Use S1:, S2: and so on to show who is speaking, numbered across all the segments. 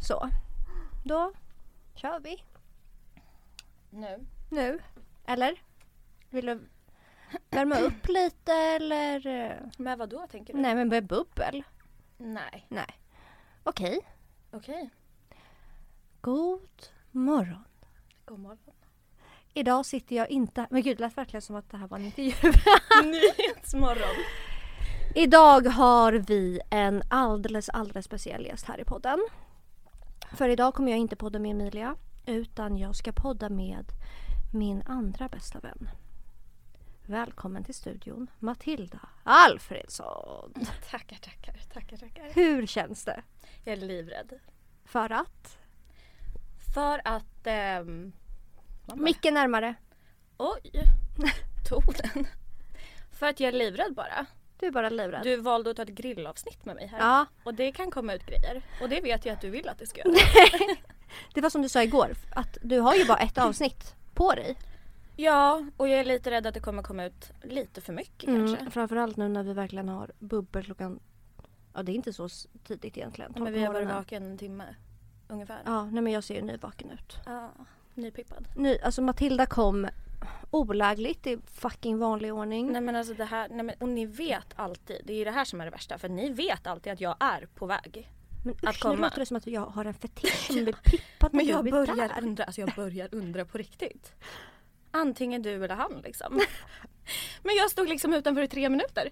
S1: Så. Då kör vi.
S2: Nu.
S1: Nu. Eller? Vill du värma upp lite eller? eh,
S2: Med vad då tänker du?
S1: Nej men med bubbel.
S2: Nej.
S1: Okej.
S2: Okej.
S1: God morgon.
S2: God morgon.
S1: Idag sitter jag inte... Men gud det lät verkligen som att det här var en intervju.
S2: Nyhetsmorgon.
S1: Idag har vi en alldeles, alldeles speciell gäst här i podden. För idag kommer jag inte podda med Emilia utan jag ska podda med min andra bästa vän. Välkommen till studion, Matilda Alfredsson.
S2: Tackar, tackar, tackar, tackar.
S1: Hur känns det?
S2: Jag är livrädd.
S1: För att?
S2: För att... ehm, mamma.
S1: Mycket närmare.
S2: Oj! Tog den. För att jag är livrädd bara.
S1: Du är bara livrädd.
S2: Du valde att ta ett grillavsnitt med mig här.
S1: Ja,
S2: Och det kan komma ut grejer. Och det vet jag att du vill att det ska göra.
S1: det var som du sa igår, att du har ju bara ett avsnitt på dig.
S2: Ja, och jag är lite rädd att det kommer komma ut lite för mycket kanske.
S1: Mm, framförallt nu när vi verkligen har bubbel klockan... Ja, det är inte så s- tidigt egentligen. tolv
S2: Men
S1: på
S2: vi har varit
S1: morgonen.
S2: vaken en timme ungefär.
S1: Ja, nej men jag ser ju nyvaken ut.
S2: Ja, nypippad.
S1: Ny, alltså Matilda kom olagligt i fucking vanlig ordning.
S2: Nej men alltså det här, nej men, och ni vet alltid, det är ju det här som är det värsta för ni vet alltid att jag är på väg.
S1: men
S2: att
S1: usch, nu
S2: komma.
S1: låter det som att jag har en fetisch som blir pippad när
S2: Men jag
S1: du är
S2: börjar
S1: där.
S2: undra, alltså jag börjar undra på riktigt. Antingen du eller han liksom. Men jag stod liksom utanför i tre minuter.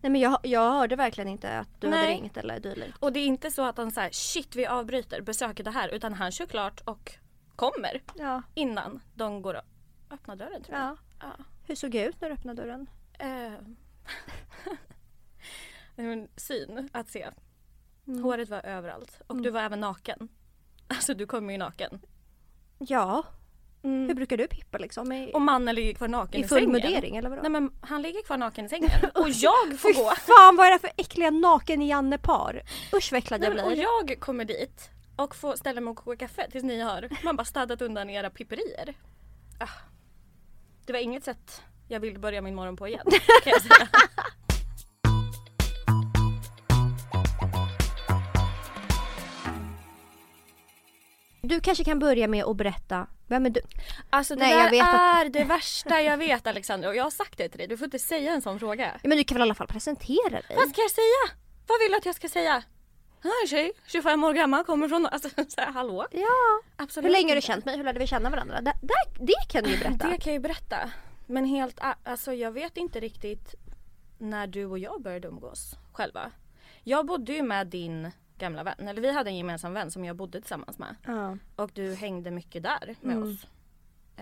S1: Nej men jag, jag hörde verkligen inte att du hade
S2: Nej.
S1: ringt eller dylikt.
S2: Och det är inte så att han säger shit vi avbryter besöket det här utan han kör klart och kommer
S1: Ja.
S2: innan de går och öppnar dörren tror jag.
S1: ja.
S2: Ja.
S1: Hur såg jag ut när du öppnade dörren?
S2: Eh. Nej, men syn att se.
S1: Mm.
S2: Håret var överallt och
S1: Mm.
S2: du var även naken. Alltså du kom ju naken.
S1: Ja. Hur
S2: Mm.
S1: brukar du pippa liksom? I,
S2: Och mannen ligger kvar naken
S1: i
S2: i,
S1: full
S2: sängen.
S1: mudering eller vadå?
S2: Nej men han ligger kvar naken i sängen och jag får
S1: Fy
S2: gå.
S1: fan vad är det för äckliga naken Janne-par? Usch vad äcklad
S2: Nej,
S1: jag
S2: men, och
S1: blir.
S2: jag kommer dit och får ställa mig och koka kaffe tills ni har man bara städat undan era pipperier. Ah. Det var inget sätt jag ville börja min morgon på igen. Kan jag säga.
S1: Du kanske kan börja med att berätta, vem är du?
S2: Alltså det
S1: Nej,
S2: där
S1: jag vet att-
S2: är det värsta jag vet Alexandra och jag har sagt det till dig. Du får inte säga en sån fråga.
S1: Ja, Men du kan väl i alla fall presentera dig?
S2: Vad ska jag säga? Vad vill du att jag ska säga? Han är en tjej, 25 år gammal, kommer från... Alltså så här, hallå?
S1: Ja.
S2: Absolut
S1: Hur länge har du
S2: inte.
S1: känt mig? Hur lärde vi känna varandra? Det, det, det kan du ju berätta.
S2: Det kan jag ju berätta. Men helt a- alltså jag vet inte riktigt när du och jag började umgås själva. Jag bodde ju med din gamla vän, eller vi hade en gemensam vän som jag bodde tillsammans med.
S1: Ja.
S2: Och du hängde mycket där med
S1: Mm.
S2: oss.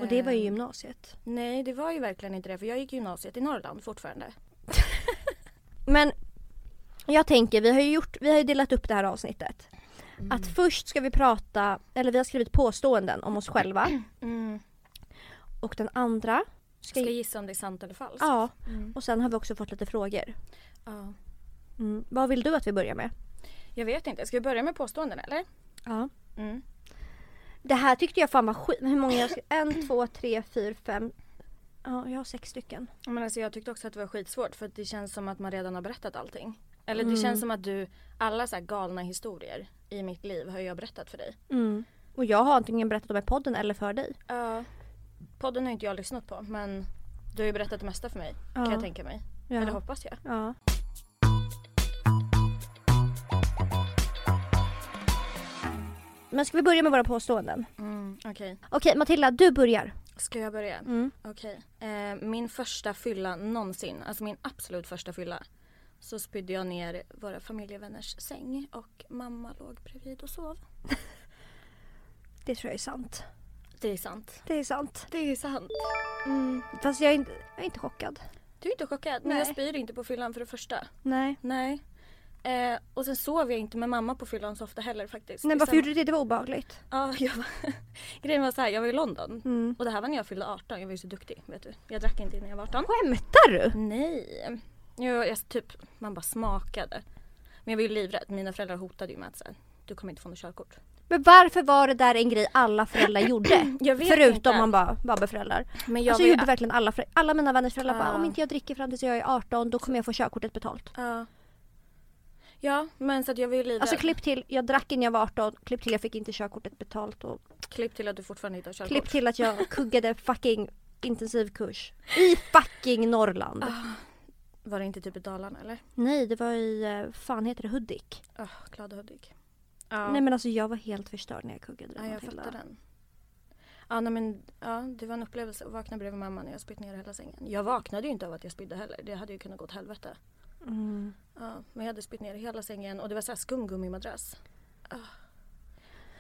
S1: Och det var ju
S2: Eh,
S1: gymnasiet.
S2: Nej det var ju verkligen inte det för jag gick gymnasiet i Norrland fortfarande.
S1: Men jag tänker, vi har ju, gjort, vi har ju delat upp det här avsnittet.
S2: Mm.
S1: Att först ska vi prata, eller vi har skrivit påståenden om oss själva.
S2: Mm.
S1: Och den andra
S2: Ska
S1: ska...
S2: jag gissa om det är sant eller falskt?
S1: ja.
S2: Mm.
S1: Och sen har vi också fått lite frågor.
S2: ja.
S1: Mm. Vad vill du att vi börjar med?
S2: Jag vet inte, ska vi börja med påståenden eller?
S1: Ja.
S2: Mm.
S1: Det här tyckte jag fan var skit. Hur många jag ska... En, två, tre, fyra, fem. Ja, jag har sex stycken.
S2: Men alltså jag tyckte också att det var skitsvårt för att det känns som att man redan har berättat allting. Eller det
S1: Mm.
S2: känns som att du, alla så här galna historier i mitt liv har jag berättat för dig.
S1: Mm. Och jag har antingen berättat om i podden eller för dig.
S2: Ja. podden har inte jag lyssnat på men du har ju berättat det mesta för mig
S1: Ja.
S2: kan jag tänka mig.
S1: Ja.
S2: Eller hoppas jag.
S1: Ja. Men ska vi börja med våra påståenden?
S2: Mm, Okej,
S1: Okej Matilda, du börjar.
S2: ska jag börja?
S1: Mm.
S2: Okej. Eh, min första fylla någonsin, alltså min absolut första fylla. Så spydde jag ner våra familjevänners säng och mamma låg bredvid och sov.
S1: Det tror jag är sant.
S2: Det är sant.
S1: Det är sant.
S2: Det är sant. Mm.
S1: Fast jag är inte, jag är inte chockad.
S2: Du är inte chockad? Nej. Men jag
S1: Nej.
S2: spyr inte på fyllan för det första.
S1: Nej.
S2: Nej. Eh, och sen sov jag inte med mamma på fyllan så ofta heller faktiskt.
S1: Nej
S2: Det
S1: varför
S2: sam-
S1: gjorde du det? Det var obehagligt.
S2: Ja, jag var... Grejen var så här, jag var i London.
S1: Mm.
S2: Och det här var när jag fyllde 18, jag var ju så duktig vet du. Jag drack inte innan jag var 18.
S1: Skämtar du?
S2: Nej. Jag, jag, typ, man bara smakade. Men jag var ju livrädd, mina föräldrar hotade ju med att så här, du kommer inte få något körkort.
S1: Men varför var det där en grej alla föräldrar gjorde?
S2: Jag vet
S1: Förutom
S2: inte.
S1: man bara, Babbe-föräldrar.
S2: Men jag
S1: Alltså
S2: var ju...
S1: gjorde verkligen alla, förä- alla mina vänners föräldrar bara
S2: Ja.
S1: om inte jag dricker fram tills jag är 18 då kommer jag få körkortet betalt.
S2: Ja. Ja men så att jag var ju livrädd.
S1: Alltså klipp till, jag drack innan jag var 18, klipp till jag fick inte körkortet betalt och
S2: Klipp till att du fortfarande inte har körkort.
S1: klipp till att jag kuggade fucking intensivkurs. I fucking Norrland.
S2: Ah. Var det inte typ i Dalarna eller?
S1: Nej det var i, eh, fan heter det Hudik?
S2: Ah, glada Hudik. Ja,
S1: Nej men alltså jag var helt förstörd när jag kuggade.
S2: ja jag
S1: Matilda.
S2: fattar den. Ja, nej, men, ja, det var en upplevelse att vakna bredvid mamma när jag spytt ner hela sängen. Jag vaknade ju inte av att jag spydde heller. Det hade ju kunnat gå åt helvete.
S1: Mm.
S2: Ja, men jag hade spytt ner hela sängen och det var så här skumgummimadrass. Ah.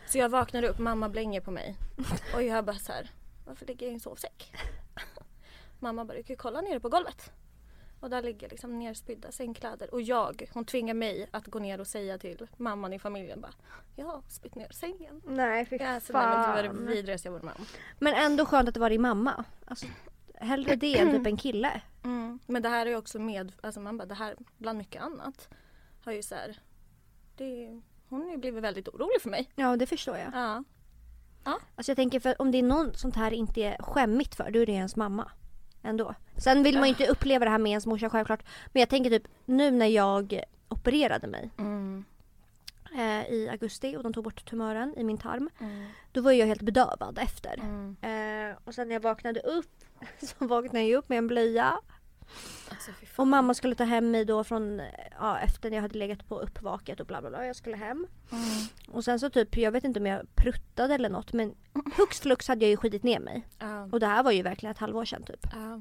S2: Så jag vaknade upp, mamma blänger på mig. Och jag bara så här, varför ligger jag i en sovsäck? mamma bara, du kan ju kolla nere på golvet. Och där ligger liksom nerspydda sängkläder. Och jag, hon tvingar mig att gå ner och säga till mamman i familjen bara, jag har spytt ner sängen.
S1: Nej fy
S2: Ja, så Alltså, nej, men det var det vidrigaste jag varit med om.
S1: Men ändå skönt att det var din mamma. Alltså, hellre det än typ en kille.
S2: Mm. Men det här är ju också med, alltså man bara det här bland mycket annat har ju så här, det, är- hon har ju blivit väldigt orolig för mig.
S1: Ja det förstår jag.
S2: Ja.
S1: Alltså jag tänker för om det är någon sånt här inte är skämmigt för, då är det ens mamma. Ändå. Sen vill man ju inte uppleva det här med ens morsa självklart. Men jag tänker typ nu när jag opererade mig
S2: Mm.
S1: eh, i augusti och de tog bort tumören i min tarm. Då var jag helt bedövad efter.
S2: Mm.
S1: Eh, och sen när jag vaknade upp så vaknade jag upp med en blöja.
S2: Alltså fy fan.
S1: Och mamma skulle ta hem mig då från, eh, ja efter när jag hade legat på uppvaket och bla bla bla. Jag skulle hem.
S2: Mm.
S1: Och sen så typ, jag vet inte om jag pruttade eller något men hux flux hade jag ju skitit ner mig.
S2: Ja.
S1: Och det här var ju verkligen ett halvår sedan typ.
S2: Ja.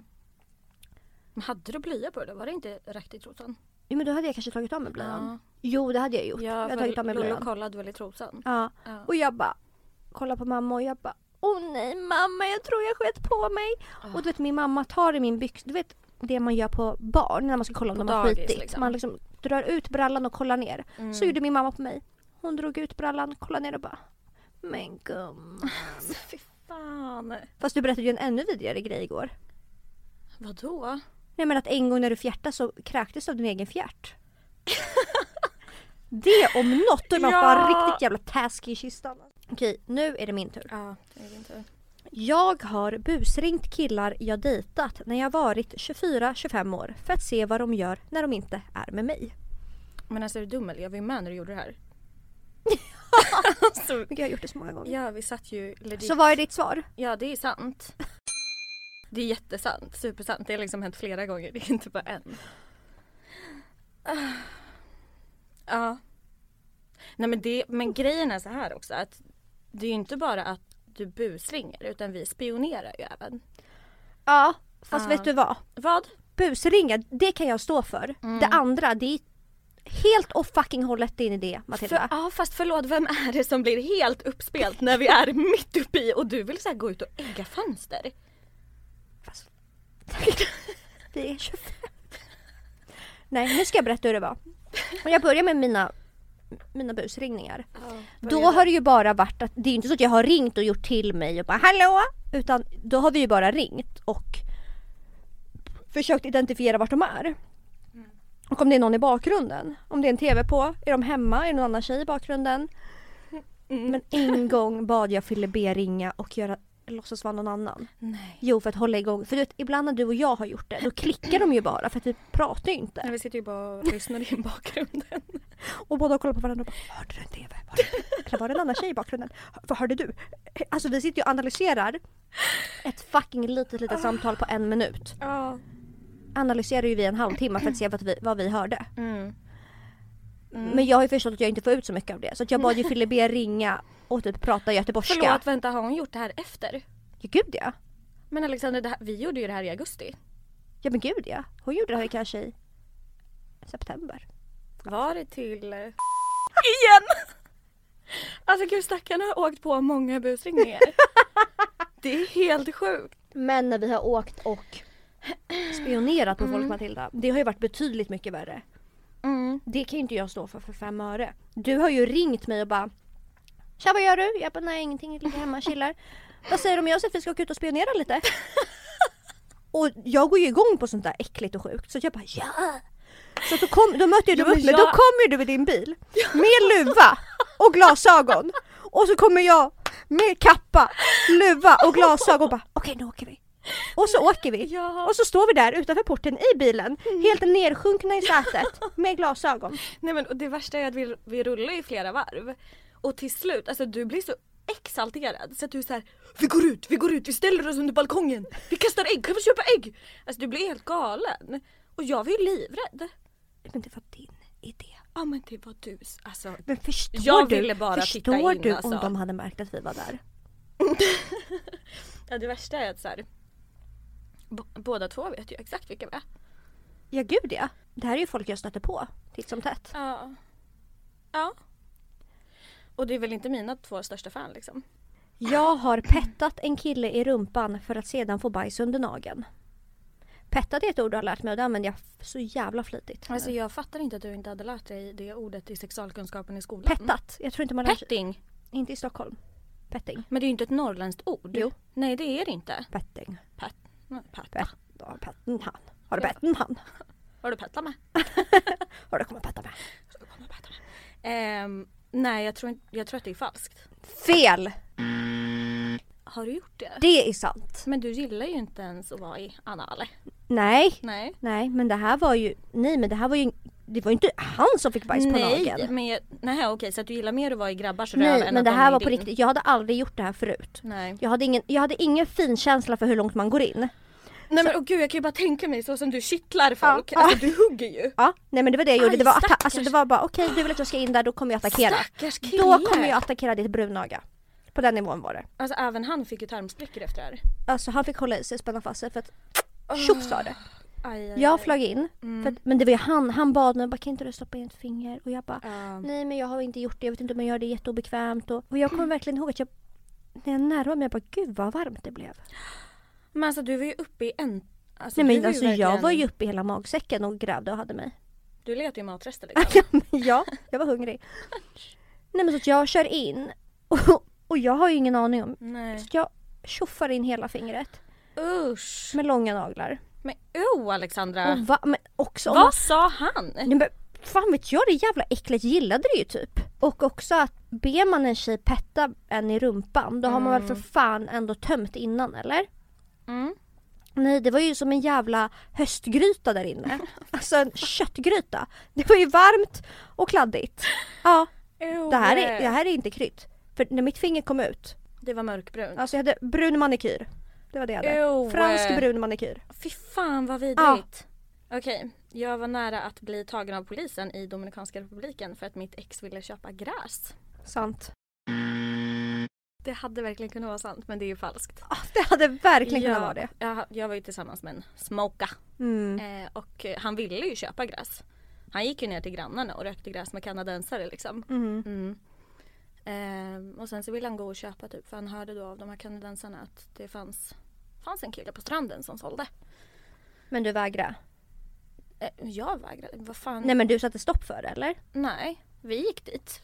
S2: Men hade du blöja på dig då? Var det inte rätt i trosan?
S1: Jo men då hade jag kanske tagit av mig blöjan. Jo det hade jag gjort. jag hade tagit av mig blöjan.
S2: kollade väl i trosan.
S1: Ja.
S2: Ja.
S1: Och jag bara kollar på mamma och jag bara Åh nej mamma jag tror jag sket på mig.
S2: Ah.
S1: Och du vet min mamma tar i min byx, du vet det man gör på barn när man ska kolla om
S2: På
S1: de har
S2: dagis,
S1: skitit.
S2: liksom.
S1: Man liksom drar ut brallan och kollar ner.
S2: Mm.
S1: Så gjorde min mamma på mig. Hon drog ut brallan, kollade ner och bara Men gumman.
S2: Alltså, fy fan.
S1: Fast du berättade ju en ännu vidrigare grej igår.
S2: Vadå?
S1: Nej men att en gång när du fjärtade så kräktes du av din egen fjärt. det om något, då är man
S2: Ja.
S1: fan riktigt jävla taskig i kistan. Okej, nu är det min tur.
S2: Ja, det är inte.
S1: Jag har busringt killar jag dejtat när jag varit 24-25 år för att se vad de gör när de inte är med mig.
S2: Men alltså är du dum eller? Jag var ju med när du gjorde det här. alltså,
S1: Men gud, jag har gjort det så många gånger.
S2: ja, vi satt ju legit
S1: Så vad är ditt svar?
S2: Ja, det är sant. Det är jättesant, supersant. Det har liksom hänt flera gånger, det är inte bara en. Ah. Ja. Nej men, det, men grejen är så här också att det är ju inte bara att du busringer utan vi spionerar ju även.
S1: Ja, fast
S2: Ja.
S1: vet du vad?
S2: Vad?
S1: Busringa, det kan jag stå för. Det andra, det är helt och fucking hållet din idé Matilda.
S2: För, ja fast förlåt, vem är det som blir helt uppspelt när vi är mitt uppe i och du vill så här gå ut och ägga fönster?
S1: Fast- Vi är 25. Nej, nu ska jag berätta hur det var. Och jag börjar med mina, mina busringningar. Då har det ju bara varit att, det är ju inte så att jag har ringt och gjort till mig och bara hallå! Utan då har vi ju bara ringt och försökt identifiera vart de är. Och om det är någon i bakgrunden. Om det är en TV på, är de hemma, är det någon annan tjej i bakgrunden? Men en gång bad jag Fille B ringa och göra, låtsas vara någon annan.
S2: Nej.
S1: Jo, för att hålla igång. För du vet, ibland när du och jag har gjort det, då klickar de ju bara för att vi pratar ju inte.
S2: Nej, vi sitter ju bara och lyssnar in bakgrunden.
S1: Och båda kollar på varandra och bara “Hörde du en TV? Var det, eller var det en annan tjej i bakgrunden? Hör- Vad hörde du?” Alltså vi sitter ju och analyserar ett fucking litet litet samtal på en minut.
S2: Ja.
S1: Analyserar ju vi en halvtimme för att se vad vi, vad vi hörde.
S2: Mm.
S1: Men jag har ju förstått att jag inte får ut så mycket av det. Så att jag bad ju Fille B ringa och typ prata göteborgska.
S2: Förlåt, vänta har hon gjort det här efter?
S1: Ja, gud ja.
S2: Men Alexander, det här, vi gjorde ju det här i augusti.
S1: Ja men gud ja. Hon gjorde det här kanske i september.
S2: Var det till... Igen! Alltså gud stackarna har åkt på många busringningar. det är helt sjukt.
S1: Men när vi har åkt och Mm. spionerat på folk Matilda. Det har ju varit betydligt mycket värre.
S2: Mm.
S1: Det kan ju inte jag stå för för fem öre. Du har ju ringt mig och bara Tja vad gör du? Jag bara nej ingenting, jag ligger hemma och chillar. vad säger du om jag säger att vi ska åka ut och spionera lite? och jag går ju igång på sånt där äckligt och sjukt så jag bara ja! Så då, kom, då möter ju du
S2: Ja, men
S1: upp mig,
S2: jag-
S1: då kommer ju du i din bil med luva och glasögon. Och så kommer jag med kappa, luva och glasögon och bara okej nu åker vi. Och så åker vi.
S2: Ja.
S1: Och så står vi där utanför porten i bilen,
S2: Mm.
S1: helt nedsjunkna i sätet med glasögon.
S2: Nej men och det värsta är att vi, vi rullar i flera varv. Och till slut, alltså du blir så exalterad så att du är så här, Vi går ut, vi går ut, vi ställer oss under balkongen. Vi kastar ägg, kan vi köpa ägg? Alltså du blir helt galen. Och jag var ju livrädd.
S1: Men det var din idé.
S2: Ja men det var du. s- Alltså
S1: Men förstår
S2: Jag
S1: du,
S2: ville bara titta
S1: förstår
S2: in,
S1: du om
S2: alltså.
S1: de hade märkt att vi var där?
S2: ja, det värsta är att så här, b- båda två vet ju exakt vilka vi är.
S1: Ja gud ja. Det här är ju folk jag stöter på titt som tätt.
S2: Ja. Ja. Och det är väl inte mina två största fan liksom.
S1: Jag har pettat en kille i rumpan för att sedan få bajs under nageln. Pettat är ett ord du har lärt mig och det använder jag f- så jävla flitigt.
S2: Alltså jag fattar inte att du inte hade lärt dig det ordet i sexualkunskapen i skolan.
S1: Pettat. Jag tror inte man lär sig.
S2: Petting!
S1: Inte i Stockholm. Petting.
S2: Men det är ju inte ett norrländskt ord.
S1: Jo.
S2: Nej det är det inte.
S1: Petting.
S2: Pet. nej, Pet.
S1: Pet. Ja, petten han. Har du
S2: Ja.
S1: petten han?
S2: Har du pettat med?
S1: Har du kommit petta med?
S2: Har du pettat med? Ehm, nej jag tror, inte- jag tror att det är falskt.
S1: Fel!
S2: Har du gjort det?
S1: Det är sant.
S2: Men du gillar ju inte ens att vara i anal.
S1: Nej.
S2: Nej.
S1: Nej men det här var ju, nej men det här var ju, det var ju inte han som fick bajs på
S2: Nej,
S1: nageln.
S2: men jag, nej okej så att du gillar mer att vara i grabbars röv
S1: Nej
S2: än
S1: men
S2: att
S1: det
S2: de
S1: här
S2: är
S1: var
S2: i
S1: på
S2: din.
S1: riktigt, jag hade aldrig gjort det här förut.
S2: Nej.
S1: Jag hade ingen, jag hade ingen fin känsla för hur långt man går in.
S2: Nej men åh gud jag kan ju bara tänka mig så som du kittlar
S1: Ja.
S2: folk. Alltså du hugger ju.
S1: Ja, nej men det var det jag gjorde.
S2: Aj,
S1: Det var, atta-
S2: stackars.
S1: alltså, det var bara okej du vill att jag ska in där, då kommer jag attackera.
S2: Stackars kille.
S1: Då kommer jag attackera ditt brunöga. På den nivån var det.
S2: Alltså även han fick ju tarmsprickor efter det här.
S1: Alltså han fick hålla i sig, spänna fast sig för att tjoff sa det.
S2: Aj, aj,
S1: Jag
S2: aj.
S1: flög in, för
S2: Mm.
S1: att, men det var ju han, han bad mig bara kan inte du stoppa in ett finger? Och jag bara
S2: Ja.
S1: nej men jag har inte gjort det, jag vet inte om jag gör det jätteobekvämt. Och, och jag
S2: Mm.
S1: kommer verkligen ihåg att jag, när jag närmade mig, jag bara gud vad varmt det blev.
S2: Men alltså du var ju uppe i en... Alltså,
S1: nej
S2: du
S1: men
S2: var ju
S1: alltså jag
S2: verkligen-
S1: var ju uppe i hela magsäcken och grävde och hade mig.
S2: Du letar ju matrester liksom.
S1: ja, men ja, jag var hungrig. nej men så att jag kör in och, och jag har ju ingen aning om. Så
S2: Nej.
S1: att jag tjoffar in hela fingret
S2: Usch.
S1: med långa naglar.
S2: Men oh Alexandra.
S1: Och va, men också om man
S2: Vad sa han?
S1: Nej, men fan vet jag, det jävla äcklet gillade det ju typ. Och också att ber man en tjej petta en i rumpan då har man väl för fan ändå tömt innan eller?
S2: Mm.
S1: Nej det var ju som en jävla höstgryta där inne. Alltså en köttgryta. Det var ju varmt och kladdigt. Ja, det här är, det här är inte krydd. För när mitt finger kom ut,
S2: Oh, Det var mörkbrunt.
S1: alltså jag hade brun manikyr. Det var det jag hade.
S2: Ew.
S1: Fransk brun manikyr.
S2: Fy fan vad vidrigt. Okej, jag var nära att bli tagen av polisen i Dominikanska republiken för att mitt ex ville köpa gräs.
S1: Sant.
S2: Det hade verkligen kunnat vara sant men det är ju falskt.
S1: Ah, det hade verkligen
S2: Ja,
S1: kunnat vara det.
S2: Jag, jag var ju tillsammans med en smoka.
S1: Mm.
S2: Eh, och eh, han ville ju köpa gräs. Han gick ju ner till grannarna och rökte gräs med kanadensare liksom.
S1: Mm.
S2: Mm. Ehm, och sen så ville han gå och köpa typ för han hörde då av de här kanadensarna att det fanns, fanns en kille på stranden som sålde.
S1: Men du vägrade?
S2: Eh, jag vägrade, vad fan.
S1: Nej
S2: Nej.
S1: men du satte stopp för det eller?
S2: vi gick dit.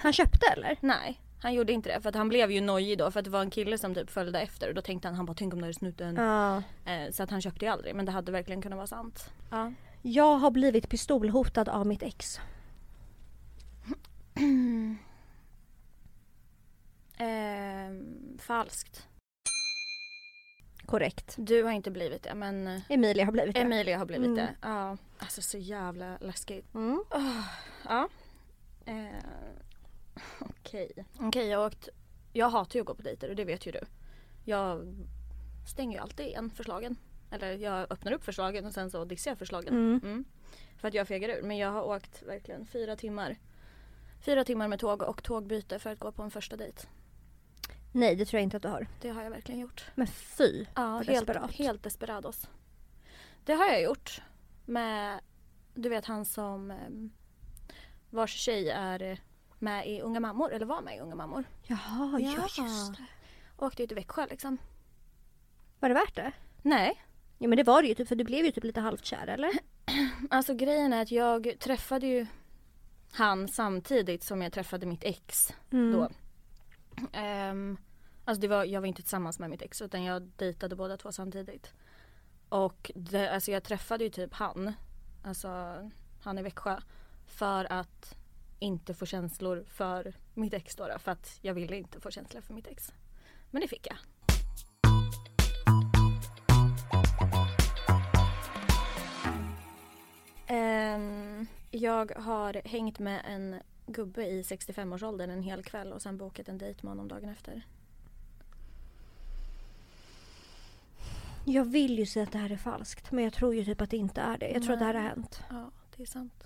S1: Han köpte eller?
S2: Nej, han gjorde inte det för att han blev ju nojig då för att det var en kille som typ följde efter och då tänkte han han bara tänk om det är snuten.
S1: Ja.
S2: Eh, så att han köpte ju aldrig men det hade verkligen kunnat vara sant. Ja.
S1: Jag har blivit pistolhotad av mitt ex.
S2: Ehm, falskt.
S1: Korrekt.
S2: Du har inte blivit det men eh,
S1: Emilia har blivit det.
S2: Emilia har blivit
S1: Mm.
S2: det. Ja. Alltså så jävla läskigt.
S1: Mm.
S2: Ah, Ja. Eh, Okej. Okej jag har åkt. Jag hatar ju att gå på dejter och det vet ju du. Jag stänger ju alltid igen förslagen. Eller jag öppnar upp förslagen och sen så dissar jag förslagen.
S1: Mm.
S2: För att jag fegar ur. Men jag har åkt verkligen fyra timmar. Fyra timmar med tåg och tågbyte för att gå på en första dejt.
S1: Nej det tror jag inte att du har.
S2: Det har jag verkligen gjort.
S1: Men fy.
S2: Ja,
S1: För
S2: helt
S1: desperat.
S2: desperat. helt desperados. Det har jag gjort med, du vet han som em, vars tjej är eh, med i Unga Mammor, eller var med i Unga Mammor.
S1: Jaha, ja. just det.
S2: Åkte ut till Växjö liksom.
S1: Var det värt det?
S2: Nej,
S1: Ja men det var det ju typ för du blev ju typ lite halvt kär eller?
S2: alltså grejen är att jag träffade ju han samtidigt som jag träffade mitt ex
S1: Mm.
S2: då. Ehm, alltså det var, jag var inte tillsammans med mitt ex utan jag dejtade båda två samtidigt. Och det, alltså jag träffade ju typ han, alltså han i Växjö, för att inte få känslor för mitt ex då, då för att jag ville inte få känslor för mitt ex. Men det fick jag. Ehm, jag har hängt med en gubbe i 65-årsåldern en hel kväll och sen bokat en dejt med honom dagen efter.
S1: Jag vill ju säga att det här är falskt men jag tror ju typ att det inte är det. Jag tror att det här har
S2: Nej.
S1: hänt.
S2: Ja, det är sant.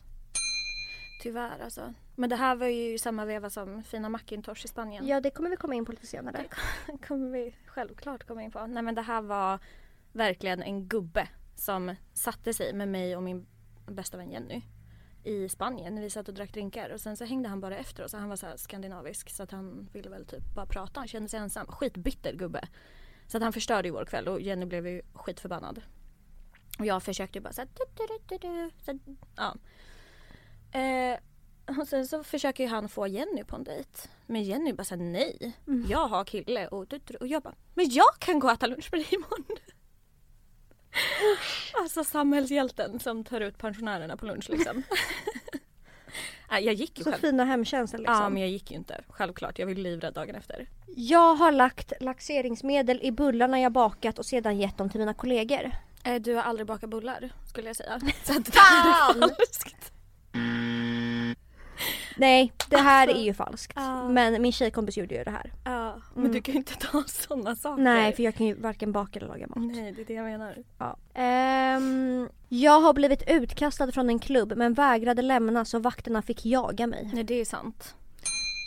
S2: Tyvärr alltså. Men det här var ju i samma veva som Fina Macintosh i Spanien.
S1: Ja det kommer vi komma in på lite senare.
S2: Det kommer vi självklart komma in på. Nej men det här var verkligen en gubbe som satte sig med mig och min bästa vän Jenny i Spanien. Vi satt och drack drinkar och sen så hängde han bara efter oss. Han var så här skandinavisk så att han ville väl typ bara prata. Han kände sig ensam. Skitbitter gubbe. Så att han förstörde ju vår kväll och Jenny blev ju skitförbannad. Och jag försökte ju bara såhär... Så, här, ja. eh, och sen så försöker ju han få Jenny på en dejt. Men Jenny bara såhär nej.
S1: Mm.
S2: Jag har kille och, du- du- och jag bara, men jag kan gå och äta lunch med dig imorgon. alltså samhällshjälten som tar ut pensionärerna på lunch liksom. Nej, jag gick ju
S1: Så
S2: själv.
S1: fina hemtjänsten liksom.
S2: Ja men jag gick ju inte. Självklart, jag var ju livrädd dagen efter.
S1: Jag har lagt laxeringsmedel i bullarna jag bakat och sedan gett dem till mina kollegor.
S2: Eh, Du har aldrig bakat bullar skulle jag säga. Så att det
S1: Fan!
S2: är falskt.
S1: Nej, det här är ju falskt.
S2: ja.
S1: Men min tjejkompis gjorde ju det här.
S2: Ja, men du kan ju inte ta sådana saker.
S1: Nej, för jag kan ju varken baka eller laga mat.
S2: Nej, det är det jag menar.
S1: Ja. Ehm, jag har blivit utkastad från en klubb men vägrade lämna så vakterna fick jaga mig.
S2: Nej, det är sant.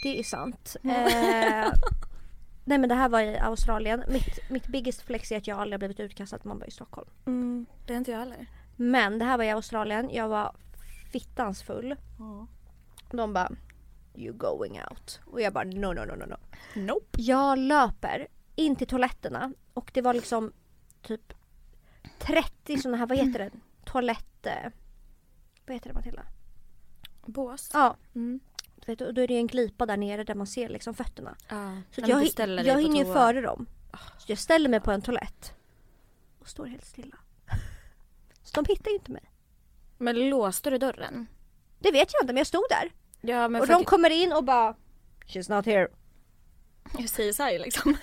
S1: Det är sant. Eh, nej men det här var i Australien. Mitt, mitt biggest flex är att jag aldrig har blivit utkastad när man var i Stockholm.
S2: Mm, Det är inte jag heller.
S1: Men det här var i Australien. Jag var fittans full. De bara You going out. Och jag bara no no no no no.
S2: Nope.
S1: Jag löper in till toaletterna och det var liksom typ 30 sådana här, vad heter det? Toalett... eh, Vad heter det Matilda?
S2: Bås.
S1: Ja,
S2: Mm.
S1: du vet, och då är det en glipa där nere där man ser liksom fötterna.
S2: Ja.
S1: Så
S2: Nej,
S1: jag,
S2: men du
S1: hin-
S2: ställer dig
S1: jag
S2: på
S1: hinner ju
S2: toa.
S1: före dem. Så jag ställer mig på en toalett. Och står helt stilla. Så de hittar ju inte mig.
S2: Men låste du dörren?
S1: Det vet jag inte men jag stod där.
S2: Ja men
S1: och
S2: för
S1: de
S2: att
S1: kommer in och bara She's not here.
S2: jag säger så här liksom.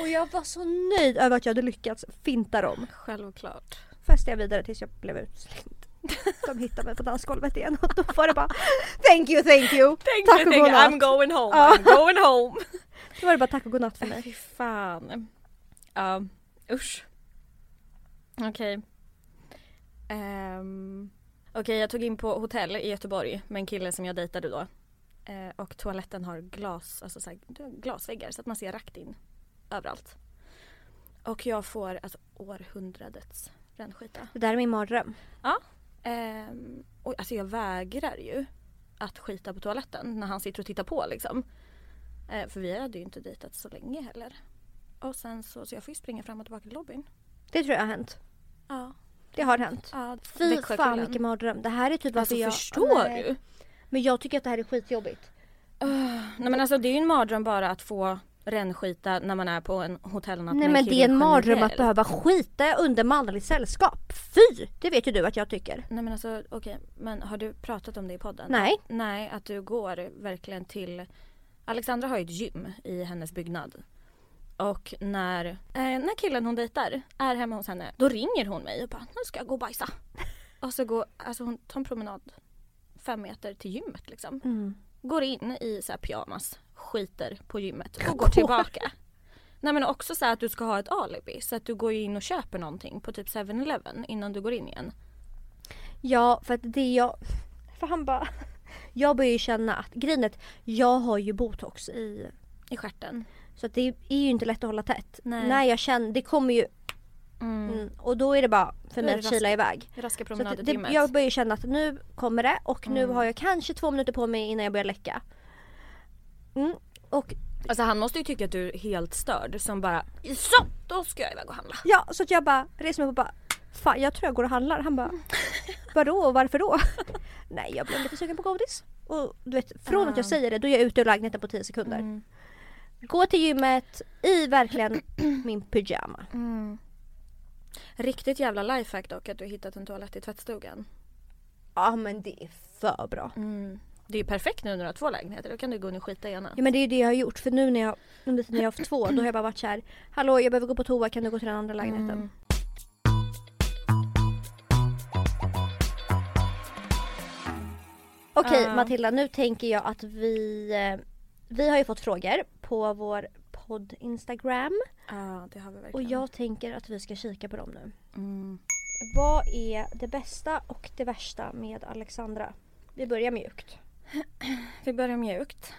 S1: Och jag var så nöjd över att jag hade lyckats finta dem.
S2: Självklart.
S1: Festade jag vidare tills jag blev utslängd. De hittade mig på dansgolvet igen och då var det bara Thank you, thank you.
S2: Tänk
S1: Tack och godnatt.
S2: I'm going home,
S1: Ja.
S2: I'm going home.
S1: Då var det bara tack och godnatt för mig.
S2: Fy fan. Ja, usch. Okej. Ehm, Okej, jag tog in på hotell i Göteborg med en kille som jag dejtade då. Eh, och toaletten har glas, alltså så här, du har glasväggar så att man ser rakt in överallt. Och jag får alltså århundradets rännskita.
S1: Det där är min mardröm.
S2: Ehm, och, alltså jag vägrar ju att skita på toaletten när han sitter och tittar på liksom. Eh, för vi hade ju inte dejtat så länge heller. Och sen så, så jag får ju springa fram och tillbaka till lobbyn.
S1: Det tror jag har hänt.
S2: Ja.
S1: Det har hänt.
S2: ja
S1: Fy
S2: Växjökullen.
S1: fan vilken mardröm. Det här är typ varför
S2: Alltså
S1: jag...
S2: förstår
S1: Nej.
S2: du?
S1: Men jag tycker att det här är skitjobbigt.
S2: Nej men alltså det är ju en mardröm bara att få rännskita när man är på en hotellnatt
S1: Nej
S2: med
S1: men det är
S2: kille
S1: en mardröm att
S2: generellt.
S1: behöva skita under manligt sällskap. Fy! Det vet ju du att jag tycker.
S2: Nej men alltså okej, men har du pratat om det i podden?
S1: Nej.
S2: Nej, att du går verkligen till... Alexandra har ju ett gym i hennes byggnad. Och när, eh, när killen hon dejtar är hemma hos henne, då ringer hon mig och bara nu ska jag gå och bajsa. Och så går, alltså hon tar en promenad fem meter till gymmet liksom. Går in i så här pyjamas, skiter på gymmet och går tillbaka. Nej men också så här att du ska ha ett alibi så att du går ju in och köper någonting på typ 7-Eleven innan du går in igen.
S1: Ja för att det jag... För han bara... Jag börjar ju känna att grejen är att jag har ju botox i...
S2: I stjärten.
S1: Så att det är ju inte lätt att hålla tätt.
S2: Nej.
S1: När jag känner... Det kommer ju...
S2: Mm.
S1: Mm. Och då är det bara för
S2: Då
S1: mig
S2: är det
S1: att kila iväg.
S2: Raska
S1: Så att
S2: promenader
S1: det,
S2: till gymmet.
S1: jag börjar ju känna att nu kommer det och nu
S2: Mm.
S1: har jag kanske två minuter på mig innan jag börjar läcka. Mm. Och
S2: Alltså han måste ju tycka att du är helt störd som bara så, då ska jag iväg och handla.
S1: Ja, så att jag bara reser mig upp och bara Fan jag tror jag går och handlar. Han bara Vadå och varför då? Nej jag blev lite sugen på godis. Och du vet från att jag
S2: Ah.
S1: säger det då är jag ute ur lägenheten på 10
S2: Mm.
S1: sekunder. Gå till gymmet i verkligen min pyjama.
S2: Mm. Riktigt jävla lifehack dock att du har hittat en toalett i tvättstugan.
S1: Ja men det är för bra.
S2: Det är ju perfekt nu när du har två lägenheter, då kan du gå in och skita i ena.
S1: Ja men det är ju det jag har gjort för nu när jag under tiden jag har haft två då har jag bara varit så här Mm. Hallå jag behöver gå på toa kan du gå till den andra lägenheten? Okej
S2: Ja.
S1: Matilda, nu tänker jag att vi... eh, Vi har ju fått frågor på vår podd Instagram
S2: Ja, det har vi verkligen.
S1: och jag tänker att vi ska kika på dem nu.
S2: Mm.
S1: Vad är det bästa och det värsta med Alexandra? Vi börjar mjukt.
S2: Vi börjar mjukt.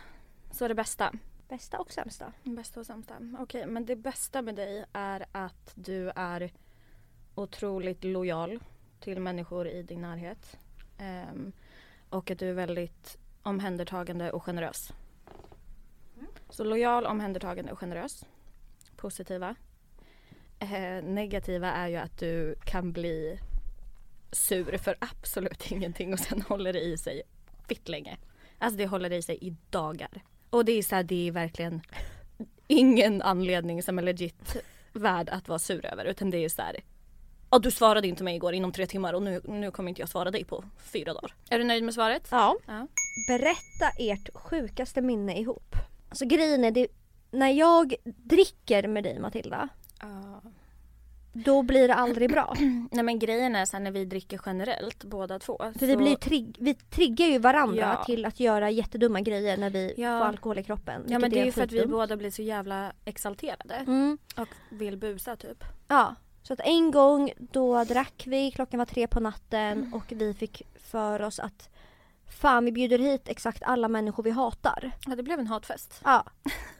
S2: Så det bästa.
S1: Bästa och sämsta.
S2: Bästa och sämsta. Okej, men det bästa med dig är att du är otroligt lojal till människor i din närhet. Ehm, och att du är väldigt omhändertagande och generös. Så lojal, omhändertagande och generös. Positiva. Eh, negativa är ju att du kan bli sur för absolut ingenting och sen håller det i sig fitt länge. Alltså det håller i sig i dagar. Och det är så här, det är verkligen ingen anledning som är legit värd att vara sur över utan det är så här. Ja du svarade inte mig igår inom tre timmar och nu, nu kommer inte jag svara dig på fyra dagar. Är du nöjd med svaret?
S1: Ja.
S2: Ja.
S1: Berätta ert sjukaste minne ihop. Alltså grejen är, det, när jag dricker med dig Matilda, då blir det aldrig bra.
S2: Nej men grejen är så här, när vi dricker generellt båda två.
S1: För vi,
S2: så-
S1: blir ju trigg, vi triggar ju varandra
S2: Ja.
S1: till att göra jättedumma grejer när vi
S2: Ja.
S1: får alkohol i kroppen.
S2: Ja men
S1: vilket
S2: det är ju för att vi
S1: skitdumt.
S2: båda blir så jävla exalterade
S1: Mm.
S2: och vill busa typ.
S1: Ja. Så att en gång då drack vi, klockan var tre på natten och vi fick för oss att fan vi bjuder hit exakt alla människor vi hatar.
S2: Ja det blev en hatfest.
S1: Ja.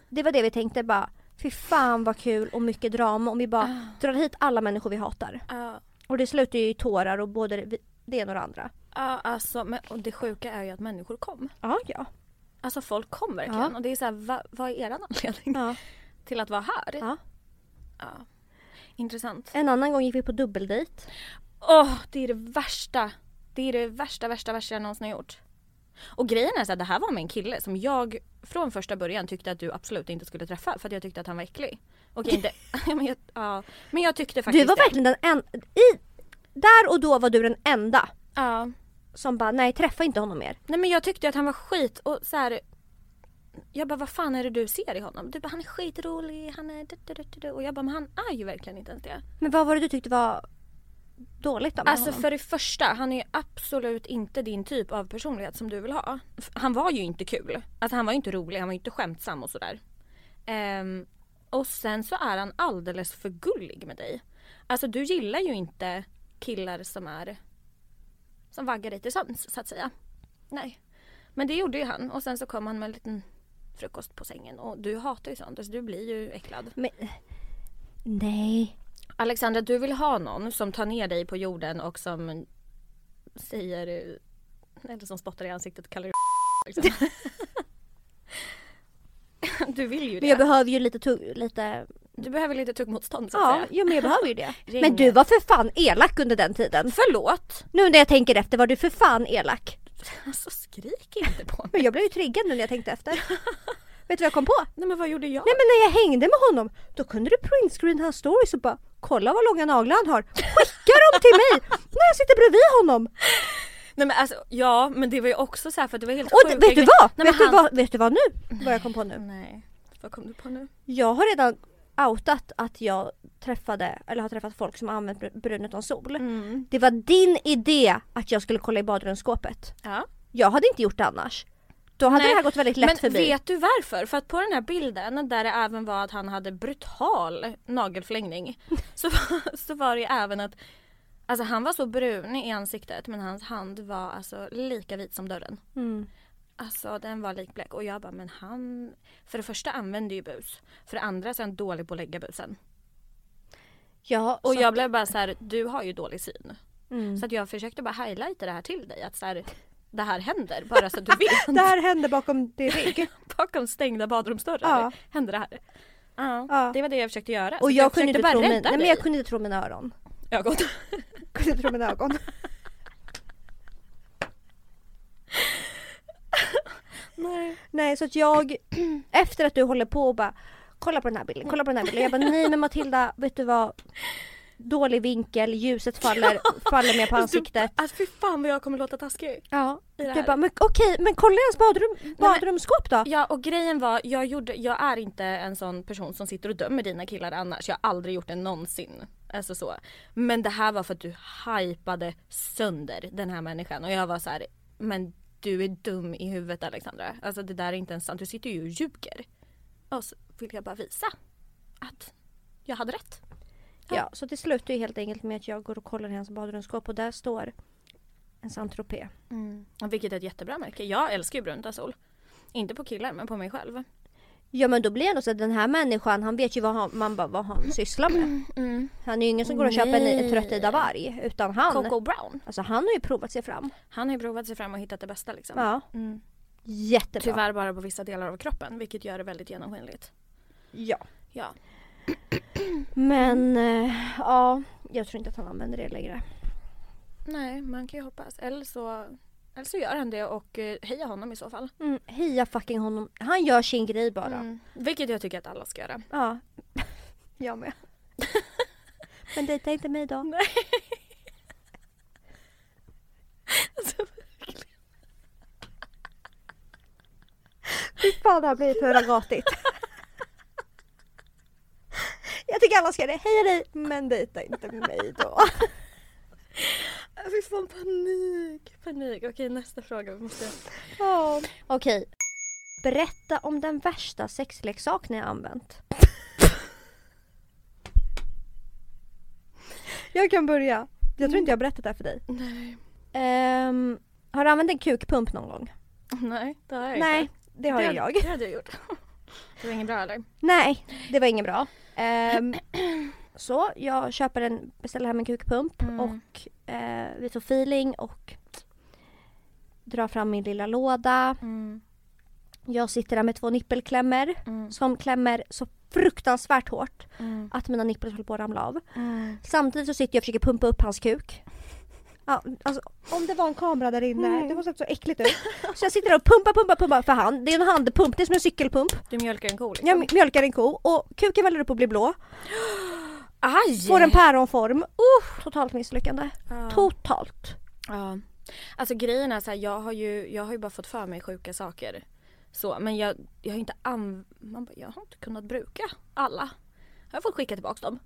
S1: Det var det vi tänkte bara, fy fan vad kul och mycket drama om vi bara drar hit alla människor vi hatar.
S2: Ja.
S1: Och det slutar ju i tårar och både vi- det ena och det andra.
S2: Ja alltså men, och det sjuka är ju att människor kom.
S1: Ja, ja.
S2: Alltså folk kom verkligen
S1: Ja.
S2: och det är så här, va, vad är eran anledning
S1: ja.
S2: till att vara här?
S1: Ja.
S2: Ja. Intressant.
S1: En annan gång gick vi på dubbeldejt.
S2: Åh, det är det värsta. Det är det värsta, värsta, värsta jag någonsin har gjort. Och grejen är så att det här var med en kille som jag från första början tyckte att du absolut inte skulle träffa för att jag tyckte att han var äcklig. Okej inte, Ja, men, jag, ja, men jag tyckte faktiskt
S1: Du var
S2: det.
S1: verkligen den enda, i, där och då var du den enda
S2: Ja.
S1: som bara nej träffa inte honom mer.
S2: Nej men jag tyckte att han var skit och så här. Jag bara vad fan är det du ser i honom? Du bara han är skitrolig, han är du, du, du, du, du. Och jag bara men han är ju verkligen inte ens det.
S1: Men vad var det du tyckte var dåligt då med
S2: Alltså
S1: honom?
S2: för det första, han är ju absolut inte din typ av personlighet som du vill ha. F- Han var ju inte kul. Alltså han var ju inte rolig, han var ju inte skämtsam och sådär. Ehm, och sen så är han alldeles för gullig med dig. Alltså du gillar ju inte killar som är som vaggar dig till sömns så att säga. Nej. Men det gjorde ju han och sen så kom han med en liten frukost på sängen och du hatar ju sånt, alltså du blir ju äcklad.
S1: Men, nej.
S2: Alexandra, du vill ha någon som tar ner dig på jorden och som säger, eller som spottar i ansiktet och kallar dig liksom. Du vill ju
S1: Men jag
S2: det.
S1: behöver ju lite, tu- lite
S2: Du behöver lite tuggmotstånd så att
S1: ja,
S2: säga.
S1: ja men jag behöver ju det.
S2: Ring.
S1: Men du var för fan elak under den tiden.
S2: Förlåt!
S1: Nu när jag tänker efter var du för fan elak.
S2: Alltså skrik inte på mig.
S1: Men jag blev ju triggad nu när jag tänkte efter. Vet du vad jag kom på?
S2: Nej men vad gjorde jag?
S1: Nej men när jag hängde med honom då kunde du printscreen hans stories och bara kolla vad långa naglar han har. Skicka dem till mig när jag sitter bredvid honom.
S2: Nej men alltså ja men det var ju också så här för att det var helt
S1: Och
S2: sjuka
S1: det- vet du
S2: grejer.
S1: vad?
S2: Nej, men
S1: vet,
S2: han-
S1: du vad vet du vad nu? Vad jag kom på nu?
S2: Nej, vad kom du på nu?
S1: Jag har redan outat att jag träffade, eller har träffat folk som har använt br- brun utan sol.
S2: Mm.
S1: Det var din idé att jag skulle kolla i badrumsskåpet.
S2: Ja.
S1: Jag hade inte gjort det annars. Då hade
S2: Nej,
S1: det här gått väldigt lätt
S2: men
S1: förbi.
S2: vet du varför? För att på den här bilden där det även var att han hade brutal nagelförlängning så, var- så var det ju även att Alltså han var så brun i ansiktet men hans hand var alltså lika vit som dörren.
S1: Mm.
S2: Alltså den var likblek och jag bara men han För det första använder ju bus. För det andra så är han dålig på att lägga busen.
S1: Ja,
S2: Och
S1: så-
S2: jag blev bara så här: du har ju dålig syn.
S1: mm.
S2: Så att jag försökte bara highlighta det här till dig att så här, det här händer bara så att du vet.
S1: Det här hände bakom din rygg.
S2: Bakom stängda badrumsdörrar
S1: Ja.
S2: hände det här. Ja,
S1: Ja.
S2: det var det jag försökte göra. Så
S1: Och jag, kunde
S2: försökte
S1: inte tro min,
S2: rädda
S1: nej, men
S2: dig.
S1: jag kunde inte tro mina öron.
S2: ögon.
S1: Kunde inte tro mina ögon.
S2: Nej.
S1: nej så att jag, efter att du håller på och bara kolla på den här bilden, kolla på den här bilden. Jag bara nej men Matilda vet du vad? Dålig vinkel, ljuset faller, faller mer på ansiktet.
S2: Alltså fy fan vad jag kommer låta taskig.
S1: Ja,
S2: i det
S1: du
S2: här.
S1: bara, men okej, men kolla i hans badrum,
S2: men-
S1: badrumsskåp då.
S2: Ja och grejen var, jag, gjorde, jag är inte en sån person som sitter och dömer dina killar annars. Jag har aldrig gjort det någonsin. Alltså så. Men det här var för att du hypade sönder den här människan och jag var så här, men du är dum i huvudet Alexandra. Alltså det där är inte ens sant. Du sitter ju och ljuger. Och så vill jag bara visa att jag hade rätt.
S1: Ja, så det slutar ju helt enkelt med att jag går och kollar i hans badrumsskåp och där står en saint -Tropez.
S2: Och Vilket är ett jättebra märke. Jag älskar ju brunta sol. Inte på killar men på mig själv.
S1: Ja men då blir jag ändå så att den här människan han vet ju vad han, man bara, vad han sysslar med.
S2: Mm.
S1: Han är ju ingen som går och köper en
S2: Nej.
S1: en trött Ida Warg utan han.
S2: Coco Brown.
S1: Alltså han har ju provat sig fram.
S2: Han har ju provat sig fram och hittat det bästa liksom.
S1: Ja,
S2: Mm.
S1: jättebra.
S2: Tyvärr bara på vissa delar av kroppen vilket gör det väldigt genomskinligt.
S1: Ja.
S2: Ja.
S1: Men eh, ja, jag tror inte att han använder det längre.
S2: Nej, man kan ju hoppas. Eller så, eller så gör han det och eh, heja honom i så fall.
S1: Mm, heja fucking honom. Han gör sin grej bara.
S2: Mm. Vilket jag tycker att alla ska göra.
S1: Ja. jag med. men dejta inte mig då.
S2: Alltså,
S1: Fy fan det här blir hurragratigt. Jag tycker alla ska det. Heja dig men dejta inte mig då.
S2: Jag fick fan panik. Panik. Okej, nästa fråga. Vi måste...
S1: Ja. Okej. Berätta om den värsta sexleksak ni har använt. jag kan börja. Jag tror inte jag har berättat det här för dig.
S2: Nej.
S1: Mm. Ehm, har du använt en kukpump någon gång?
S2: Nej, det har jag
S1: Nej,
S2: inte.
S1: det har
S2: det,
S1: ju jag.
S2: Det hade jag gjort. Det var inget bra eller?
S1: Nej, det var inget bra. Ehm, så jag köper en, beställer hem en kukpump
S2: Mm.
S1: och eh, vi får feeling och drar fram min lilla låda.
S2: Mm.
S1: Jag sitter där med två nippelklämmor.
S2: Mm.
S1: som klämmer så fruktansvärt hårt
S2: Mm.
S1: att mina nipplar håller på att ramla av. Samtidigt så sitter jag och försöker pumpa upp hans kuk. Ja, alltså, om det var en kamera där inne,
S2: Mm.
S1: det måste ha sett så äckligt ut. Så jag sitter där och pumpar, pumpar, pumpar för hand. Det är en handpump, det är som en cykelpump.
S2: Du mjölkar en ko liksom?
S1: Jag mjölkar en ko och kuken väller upp och blir blå.
S2: Aj!
S1: Får en päronform. Uh, totalt misslyckande.
S2: Ja.
S1: Totalt.
S2: Ja. Alltså grejen är så här, jag har ju, jag har ju bara fått för mig sjuka saker. Så, men jag, jag har inte anv- man bara, jag har inte kunnat bruka alla. Jag har fått skicka tillbaka dem.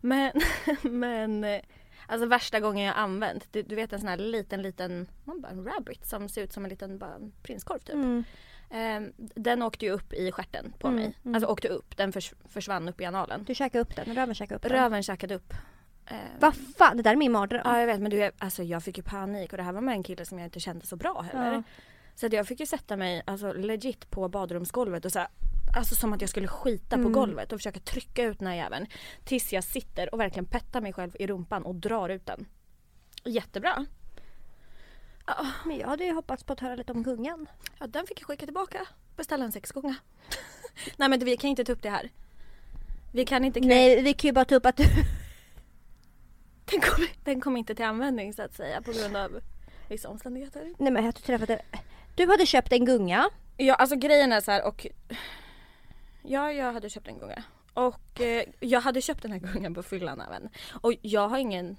S2: Men, men eh, alltså värsta gången jag har använt, du, du vet en sån här liten liten, man bara en rabbit som ser ut som en liten bara en prinskorv typ.
S1: Mm.
S2: Eh, den åkte ju upp i stjärten på
S1: Mm,
S2: mig. Alltså åkte upp, den förs- försvann upp i analen.
S1: Du käkade upp den, röven käkade upp den.
S2: Röven käkade upp. Eh,
S1: Vad fan, det där är min mardröm.
S2: Ja jag vet men du, alltså jag fick ju panik och det här var med en kille som jag inte kände så bra heller.
S1: Ja.
S2: Så att jag fick ju sätta mig alltså legit på badrumsgolvet och så här, alltså som att jag skulle skita
S1: Mm.
S2: på golvet och försöka trycka ut den här jäveln. Tills jag sitter och verkligen pettar mig själv i rumpan och drar ut den. Jättebra.
S1: Men jag hade ju hoppats på att höra lite om gungan.
S2: Ja den fick jag skicka tillbaka. Beställa en sexgunga. Nej men vi kan inte ta upp det här. Vi kan inte krä-
S1: Nej, vi kan ju bara ta upp att du
S2: Den, kom, den kom inte till användning så att säga på grund av vissa omständigheter.
S1: Nej men att du träffade... Du hade köpt en gunga.
S2: Ja alltså grejen är så här och Ja jag hade köpt en gunga. Och eh, jag hade köpt den här gungan på fyllan även. Och jag har ingen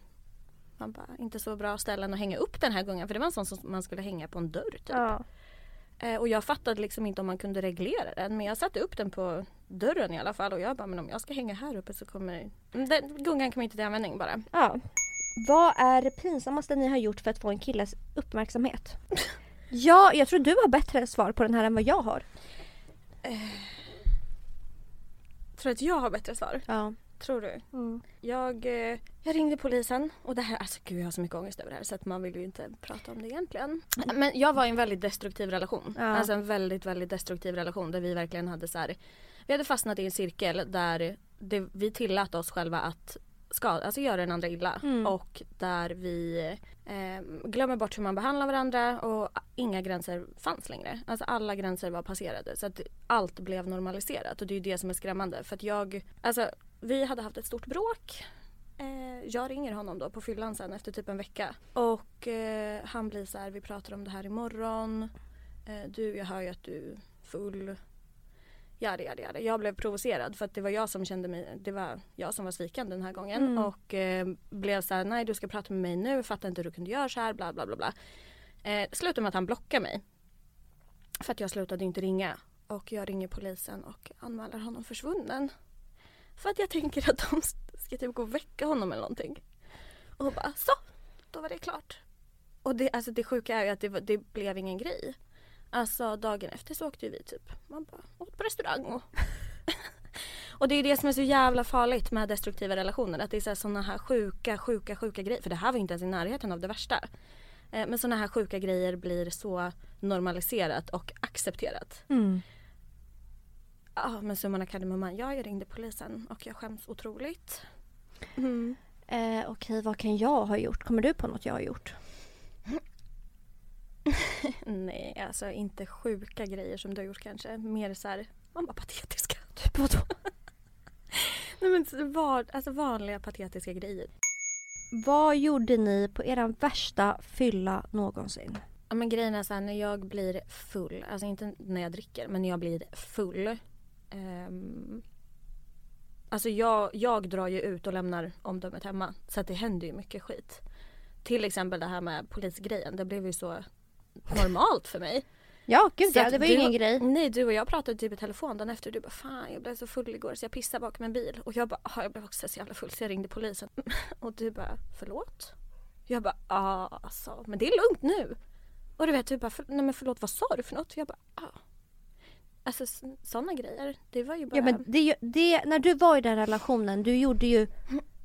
S2: man bara, inte så bra ställen att hänga upp den här gungan för det var en sån som man skulle hänga på en dörr typ.
S1: Ja.
S2: Eh, och jag fattade liksom inte om man kunde reglera den men jag satte upp den på dörren i alla fall och jag bara men om jag ska hänga här uppe så kommer Mm, den, gungan kommer inte till användning bara.
S1: ja. Vad är det pinsammaste ni har gjort för att få en killes uppmärksamhet? ja, jag tror du har bättre svar på den här än vad jag har.
S2: Tror att jag har bättre svar?
S1: Ja.
S2: Tror du?
S1: Mm.
S2: Jag, eh, jag ringde polisen och det här, alltså gud jag har så mycket ångest över det här så att man vill ju inte prata om det egentligen. Men jag var i en väldigt destruktiv relation.
S1: Ja.
S2: Alltså en väldigt, väldigt destruktiv relation där vi verkligen hade så här, vi hade fastnat i en cirkel där det, vi tillät oss själva att skada, alltså göra den andra illa.
S1: Mm.
S2: Och där vi eh, glömmer bort hur man behandlar varandra och inga gränser fanns längre. Alltså alla gränser var passerade så att allt blev normaliserat och det är ju det som är skrämmande. För att jag, alltså vi hade haft ett stort bråk. Eh, jag ringer honom då på fyllan sen efter typ en vecka. Och eh, han blir så här, vi pratar om det här imorgon. Eh, du, jag hör ju att du är full. Yada, yada, yada. Jag blev provocerad för att det var jag som kände mig, det var jag som var sviken den här gången.
S1: Mm.
S2: Och eh, blev så här, nej du ska prata med mig nu, fattar inte hur du kunde göra så här, bla bla bla. bla. Eh, slutade med att han blockade mig. För att jag slutade inte ringa. Och jag ringer polisen och anmäler honom försvunnen. För att jag tänker att de ska typ gå och väcka honom eller någonting. Och hon bara så, då var det klart. Och det, alltså det sjuka är ju att det, var- det blev ingen grej. Alltså dagen efter så åkte ju vi typ, man bara åt på restaurang och... och det är ju det som är så jävla farligt med destruktiva relationer. Att det är så här, såna här sjuka, sjuka, sjuka grejer. För det här var ju inte ens i närheten av det värsta. Eh, Men såna här sjuka grejer blir så normaliserat och accepterat.
S1: Mm.
S2: Ja men summan av kardemumman, ja jag ringde polisen och jag skäms otroligt. Mm.
S1: Eh, Okej, vad kan jag ha gjort? Kommer du på något jag har gjort?
S2: Nej alltså inte sjuka grejer som du har gjort kanske. Mer så här, man bara patetiska.
S1: Typ vadå?
S2: Nej men så var, alltså vanliga patetiska grejer.
S1: Vad gjorde ni på er värsta fylla någonsin?
S2: Ja men grejen är så här, när jag blir full, alltså inte när jag dricker men när jag blir full. ehm, alltså jag, jag drar ju ut och lämnar omdömet hemma så att det händer ju mycket skit. Till exempel det här med polisgrejen, det blev ju så normalt för mig.
S1: Ja, gud
S2: Så
S1: ja,
S2: att
S1: det var
S2: du-
S1: ju ingen grej.
S2: Nej du och jag pratade typ i telefon dagen efter och du bara fan jag blev så full igår så jag pissade bakom en bil. Och jag bara "Ah, jag blev också så jävla full så jag ringde polisen. Och du bara förlåt? Jag bara ja alltså men det är lugnt nu. Och du vet du bara "För- nej men förlåt vad sa du för något? Jag bara ja. Alltså sådana grejer. Det var ju bara.
S1: Ja, men det, är ju- det, när du var i den relationen, du gjorde ju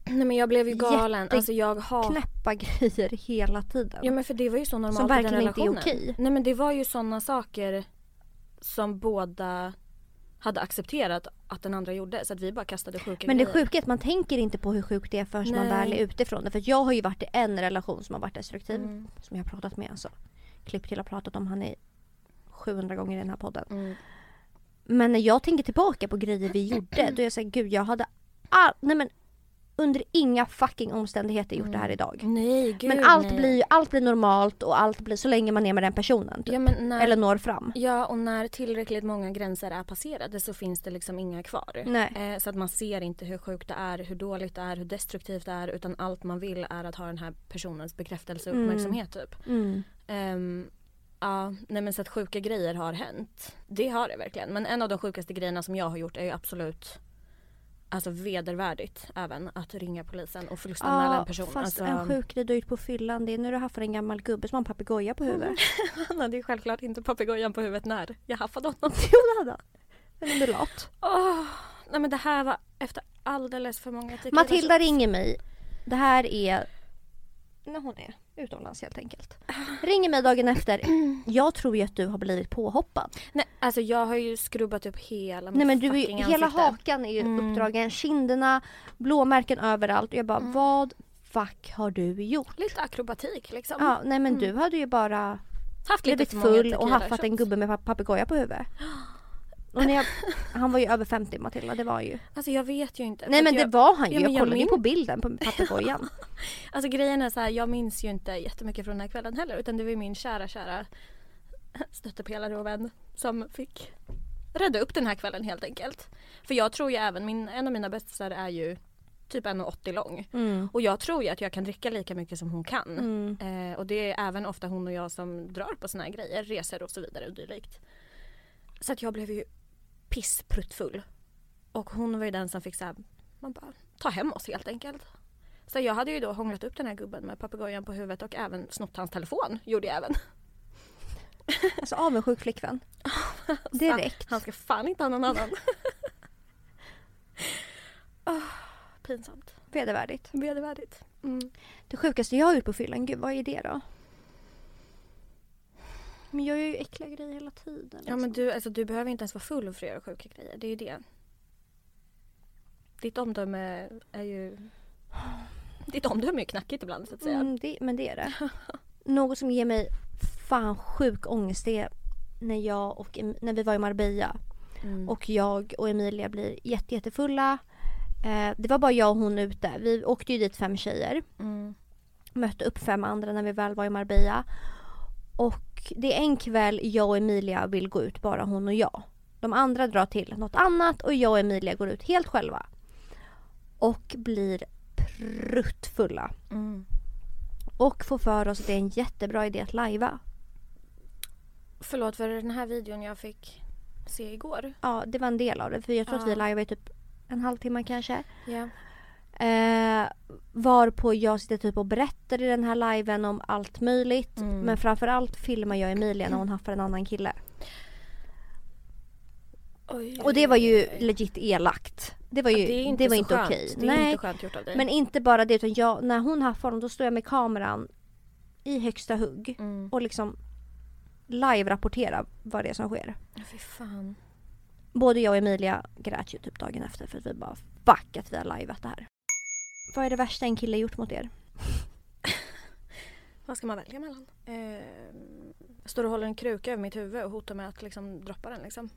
S2: Nej men jag blev ju galen.
S1: Jätte-
S2: Alltså jag har.
S1: knäppa grejer hela tiden.
S2: Ja men för det var ju så normalt
S1: som
S2: i den
S1: verkligen inte är
S2: relationen.
S1: okej.
S2: Nej men det var ju sådana saker som båda hade accepterat att den andra gjorde så att vi bara kastade sjuka
S1: Men det
S2: grejer.
S1: sjuka är att man tänker inte på hur sjukt det är förrän man
S2: Nej.
S1: väl är utifrån det. För att jag har ju varit i en relation som har varit destruktiv.
S2: Mm.
S1: Som jag har pratat med alltså. Klipp till har pratat om han i 700 gånger i den här podden.
S2: Mm.
S1: Men när jag tänker tillbaka på grejer vi gjorde då är jag såhär, gud jag hade all, nej men under inga fucking omständigheter gjort det här idag.
S2: Nej Mm. gud
S1: Men allt
S2: nej.
S1: blir ju allt blir normalt och allt blir så länge man är med den personen. Typ.
S2: Ja, men när,
S1: Eller når fram.
S2: ja och när tillräckligt många gränser är passerade så finns det liksom inga kvar.
S1: Nej.
S2: Eh, så att man ser inte hur sjukt det är, hur dåligt det är, hur destruktivt det är utan allt man vill är att ha den här personens bekräftelse och
S1: Mm.
S2: uppmärksamhet typ.
S1: Mm.
S2: Ehm, ja, nej men så att sjuka grejer har hänt. Det har det verkligen. Men en av de sjukaste grejerna som jag har gjort är ju absolut Alltså vedervärdigt även att ringa polisen och förlustanmäla en person.
S1: fast
S2: alltså,
S1: en sjuk grej du har gjort på fyllan det är när du haffar en gammal gubbe som har en papegoja på
S2: Mm.
S1: huvudet.
S2: han hade ju självklart inte papegojan på huvudet när jag haffade honom.
S1: Jo det hade han. En undulat.
S2: Åh, nej men det här var efter alldeles för många tequila
S1: Matilda
S2: shots.
S1: ringer mig. Det här är när hon är utomlands helt enkelt. Ringer mig dagen efter. Jag tror ju att du har blivit påhoppad.
S2: Nej, alltså jag har ju skrubbat upp hela mitt
S1: Nej men du är ju,
S2: fucking
S1: hela
S2: ansikte.
S1: hakan är ju
S2: Mm.
S1: uppdragen. Kinderna, blåmärken överallt. Och jag bara
S2: Mm.
S1: vad fuck har du gjort?
S2: Lite akrobatik liksom.
S1: Ja, nej men du hade ju bara
S2: Haft lite
S1: blivit
S2: för många liksom.
S1: full och
S2: tequila
S1: haffat en
S2: shots.
S1: gubbe med pa- papegoja på huvudet. Och när jag, han var ju över 50 Matilda, det var ju.
S2: Alltså jag vet ju inte. för
S1: Nej
S2: att
S1: men det
S2: jag,
S1: var han ju.
S2: Ja, men
S1: Jag
S2: jag
S1: kollade ju
S2: min-
S1: på bilden på papegojan.
S2: Alltså grejen är så här, jag minns ju inte jättemycket från den här kvällen heller utan det var ju min kära kära stöttepelare och vän som fick rädda upp den här kvällen helt enkelt. För jag tror ju även, min, en av mina bästisar är ju typ 1,80 lång
S1: Mm.
S2: och jag tror ju att jag kan dricka lika mycket som hon kan.
S1: Mm.
S2: Eh, och det är även ofta hon och jag som drar på såna här grejer, resor och så vidare och dylikt. Så att jag blev ju pisspruttfull. Och hon var ju den som fick så här, man bara ta hem oss helt enkelt. Så jag hade ju då hånglat upp den här gubben med papegojan på huvudet och även snott hans telefon. Gjorde jag även.
S1: Alltså avundsjuk flickvän. Direkt.
S2: Han ska fan inte ha någon annan. Åh, pinsamt.
S1: Vedervärdigt.
S2: Vedervärdigt. Mm.
S1: Det sjukaste jag har gjort på fyllan, gud vad är det då? Men jag gör ju äckliga grejer hela tiden.
S2: Ja men
S1: liksom.
S2: du, alltså, du behöver inte ens vara full för att göra sjuka grejer. Det är ju det. Ditt omdöme är ju... Ditt omdöme är ju knackigt ibland så att säga.
S1: mm, det, men det är det. Något som ger mig fan sjuk ångest det är när jag och Em- när vi var i Marbella
S2: Mm.
S1: och jag och Emilia blir jätte, jättefulla. Eh, det var bara jag och hon ute. Vi åkte ju dit fem tjejer.
S2: Mm.
S1: mötte upp fem andra när vi väl var i Marbella. Och det är en kväll jag och Emilia vill gå ut, bara hon och jag. De andra drar till något annat och jag och Emilia går ut helt själva. Och blir pruttfulla.
S2: Mm.
S1: Och får för oss att det är en jättebra idé att lajva.
S2: Förlåt för den här videon jag fick se igår.
S1: Ja, det var en del av det. För jag tror att vi
S2: Ja.
S1: lajvade i typ en halvtimme kanske.
S2: Ja.
S1: Eh, varpå jag sitter typ och berättar i den här liven om allt möjligt.
S2: Mm.
S1: Men framförallt filmar jag Emilia när hon haffar en annan kille. Och det var ju legit elakt. Det var ju
S2: det, är
S1: det
S2: inte
S1: var
S2: så
S1: inte
S2: skönt.
S1: okej.
S2: Det är
S1: Nej.
S2: inte skönt gjort av dig.
S1: Men inte bara det utan jag, när hon haffar honom då står jag med kameran i högsta hugg
S2: Mm.
S1: och liksom live-rapporterar vad det är som sker.
S2: Ja, Fy fan.
S1: Både jag och Emilia grät ju typ dagen efter för att vi bara fuck att vi har liveat det här. Vad är det värsta en kille gjort mot er?
S2: Vad ska man välja mellan? Eh, står och håller en kruka över mitt huvud och hotar med att liksom droppa den liksom.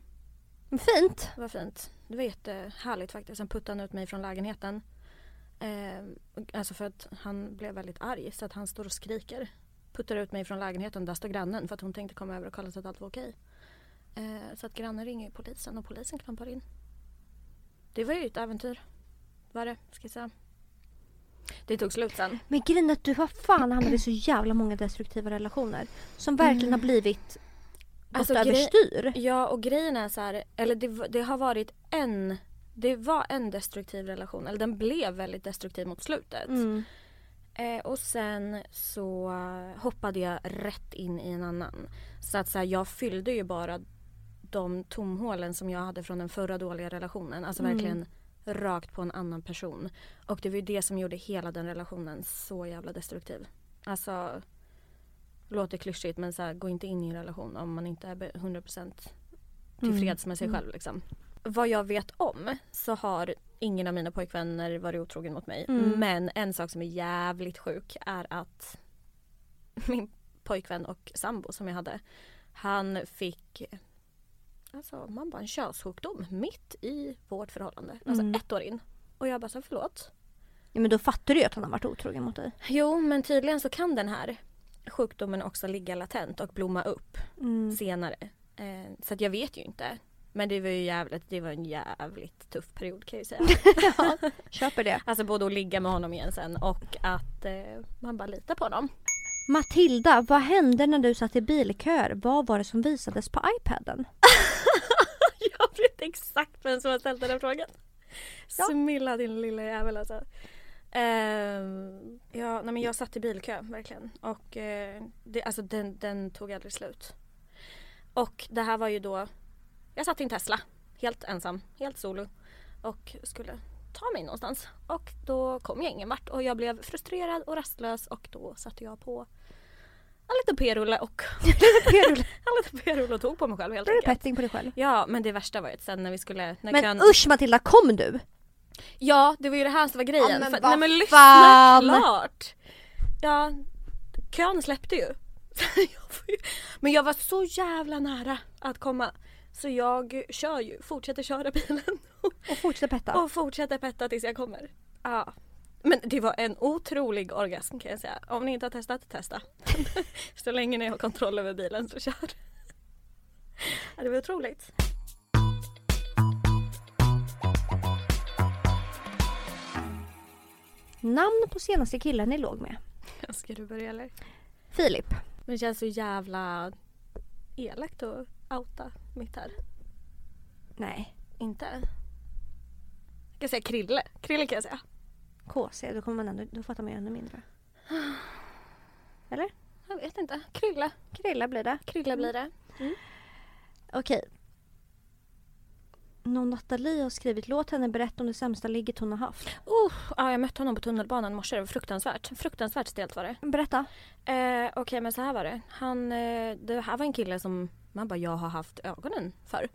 S1: Fint!
S2: Det var fint. Det var jättehärligt faktiskt. Sen puttade han ut mig från lägenheten. Eh, alltså för att han blev väldigt arg så att han står och skriker. Puttar ut mig från lägenheten. Där står grannen för att hon tänkte komma över och kolla så att allt var okej. Eh, så att grannen ringer ju polisen och polisen klampar in. Det var ju ett äventyr. Var det, ska jag säga. Det tog slut sen.
S1: Men grejen är att du har fan hamnat i så jävla många destruktiva relationer som verkligen har blivit gått
S2: Mm. Alltså, grej-
S1: överstyr.
S2: Ja och grejen är så här, eller det, v- det har varit en, det var en destruktiv relation, eller den blev väldigt destruktiv mot slutet.
S1: Mm.
S2: Eh, och sen så hoppade jag rätt in i en annan. Så att så här, jag fyllde ju bara de tomhålen som jag hade från den förra dåliga relationen. Alltså
S1: Mm.
S2: verkligen rakt på en annan person. Och det var ju det som gjorde hela den relationen så jävla destruktiv. Alltså, låter klyschigt men så här, gå inte in i en relation om man inte är be- 100% tillfreds med sig
S1: Mm.
S2: själv. Liksom. Vad jag vet om så har ingen av mina pojkvänner varit otrogen mot mig.
S1: Mm.
S2: Men en sak som är jävligt sjuk är att min pojkvän och sambo som jag hade, han fick alltså, man bara en könssjukdom mitt i vårt förhållande. Alltså
S1: Mm.
S2: ett år in. Och jag bara så här, förlåt.
S1: Ja, men då fattar du ju att han har varit otrogen mot dig.
S2: Jo men tydligen så kan den här sjukdomen också ligga latent och blomma upp
S1: Mm.
S2: senare. Eh, så att jag vet ju inte. Men det var ju jävligt, det var en jävligt tuff period kan jag ju säga.
S1: Ja, köper det.
S2: alltså både att ligga med honom igen sen och att eh, man bara litar på honom.
S1: Matilda, vad hände när du satt i bilköer? Vad var det som visades på iPaden?
S2: jag vet exakt vem som har ställt den här frågan.
S1: Ja.
S2: Smilla din lilla jävel alltså. Ehm, ja, nej men jag satt i bilkö verkligen och eh, det, alltså den, den tog aldrig slut. Och det här var ju då, jag satt i en Tesla helt ensam, helt solo och skulle ta mig någonstans och då kom jag ingen vart och jag blev frustrerad och rastlös och då satte jag på en liten p-rulle och
S1: Perulle.
S2: en liten p-rulle och tog på mig själv helt
S1: Då är du
S2: enkelt.
S1: petting på dig själv.
S2: Ja men det värsta var ju att sen när vi skulle... När
S1: Men
S2: kön...
S1: usch Matilda, kom du!
S2: Ja det var ju det här som var grejen.
S1: Ja, men
S2: För-
S1: vad
S2: nej men
S1: fan!
S2: lyssna klart! Ja, kön släppte ju. Jag får ju- men jag var så jävla nära att komma. Så jag kör ju, fortsätter köra bilen
S1: Och fortsätt petta.
S2: och fortsätter petta tills jag kommer. Ja. Men det var en otrolig orgasm kan jag säga. Om ni inte har testat, testa. så länge ni har kontroll över bilen så kör. Ja, det var otroligt.
S1: Namn på senaste killen ni låg med?
S2: Ska du börja eller?
S1: Filip.
S2: Men det känns så jävla elakt att outa mitt här.
S1: Nej.
S2: Inte? Jag kan säga Krille. Krille kan jag säga.
S1: KC, då kommer man ändå, då fattar man ju ännu mindre. Eller?
S2: Jag vet inte. Krille.
S1: Krilla blir det.
S2: Krille blir det.
S1: Okej. Någon Nathalie har skrivit låt henne berätta om det sämsta ligget hon har haft.
S2: Oh, ja, jag mötte honom på tunnelbanan i morse. Det var fruktansvärt. Fruktansvärt stelt var det.
S1: Berätta.
S2: Eh, Okej men så här var det. Han, eh, det här var en kille som man bara jag har haft ögonen för.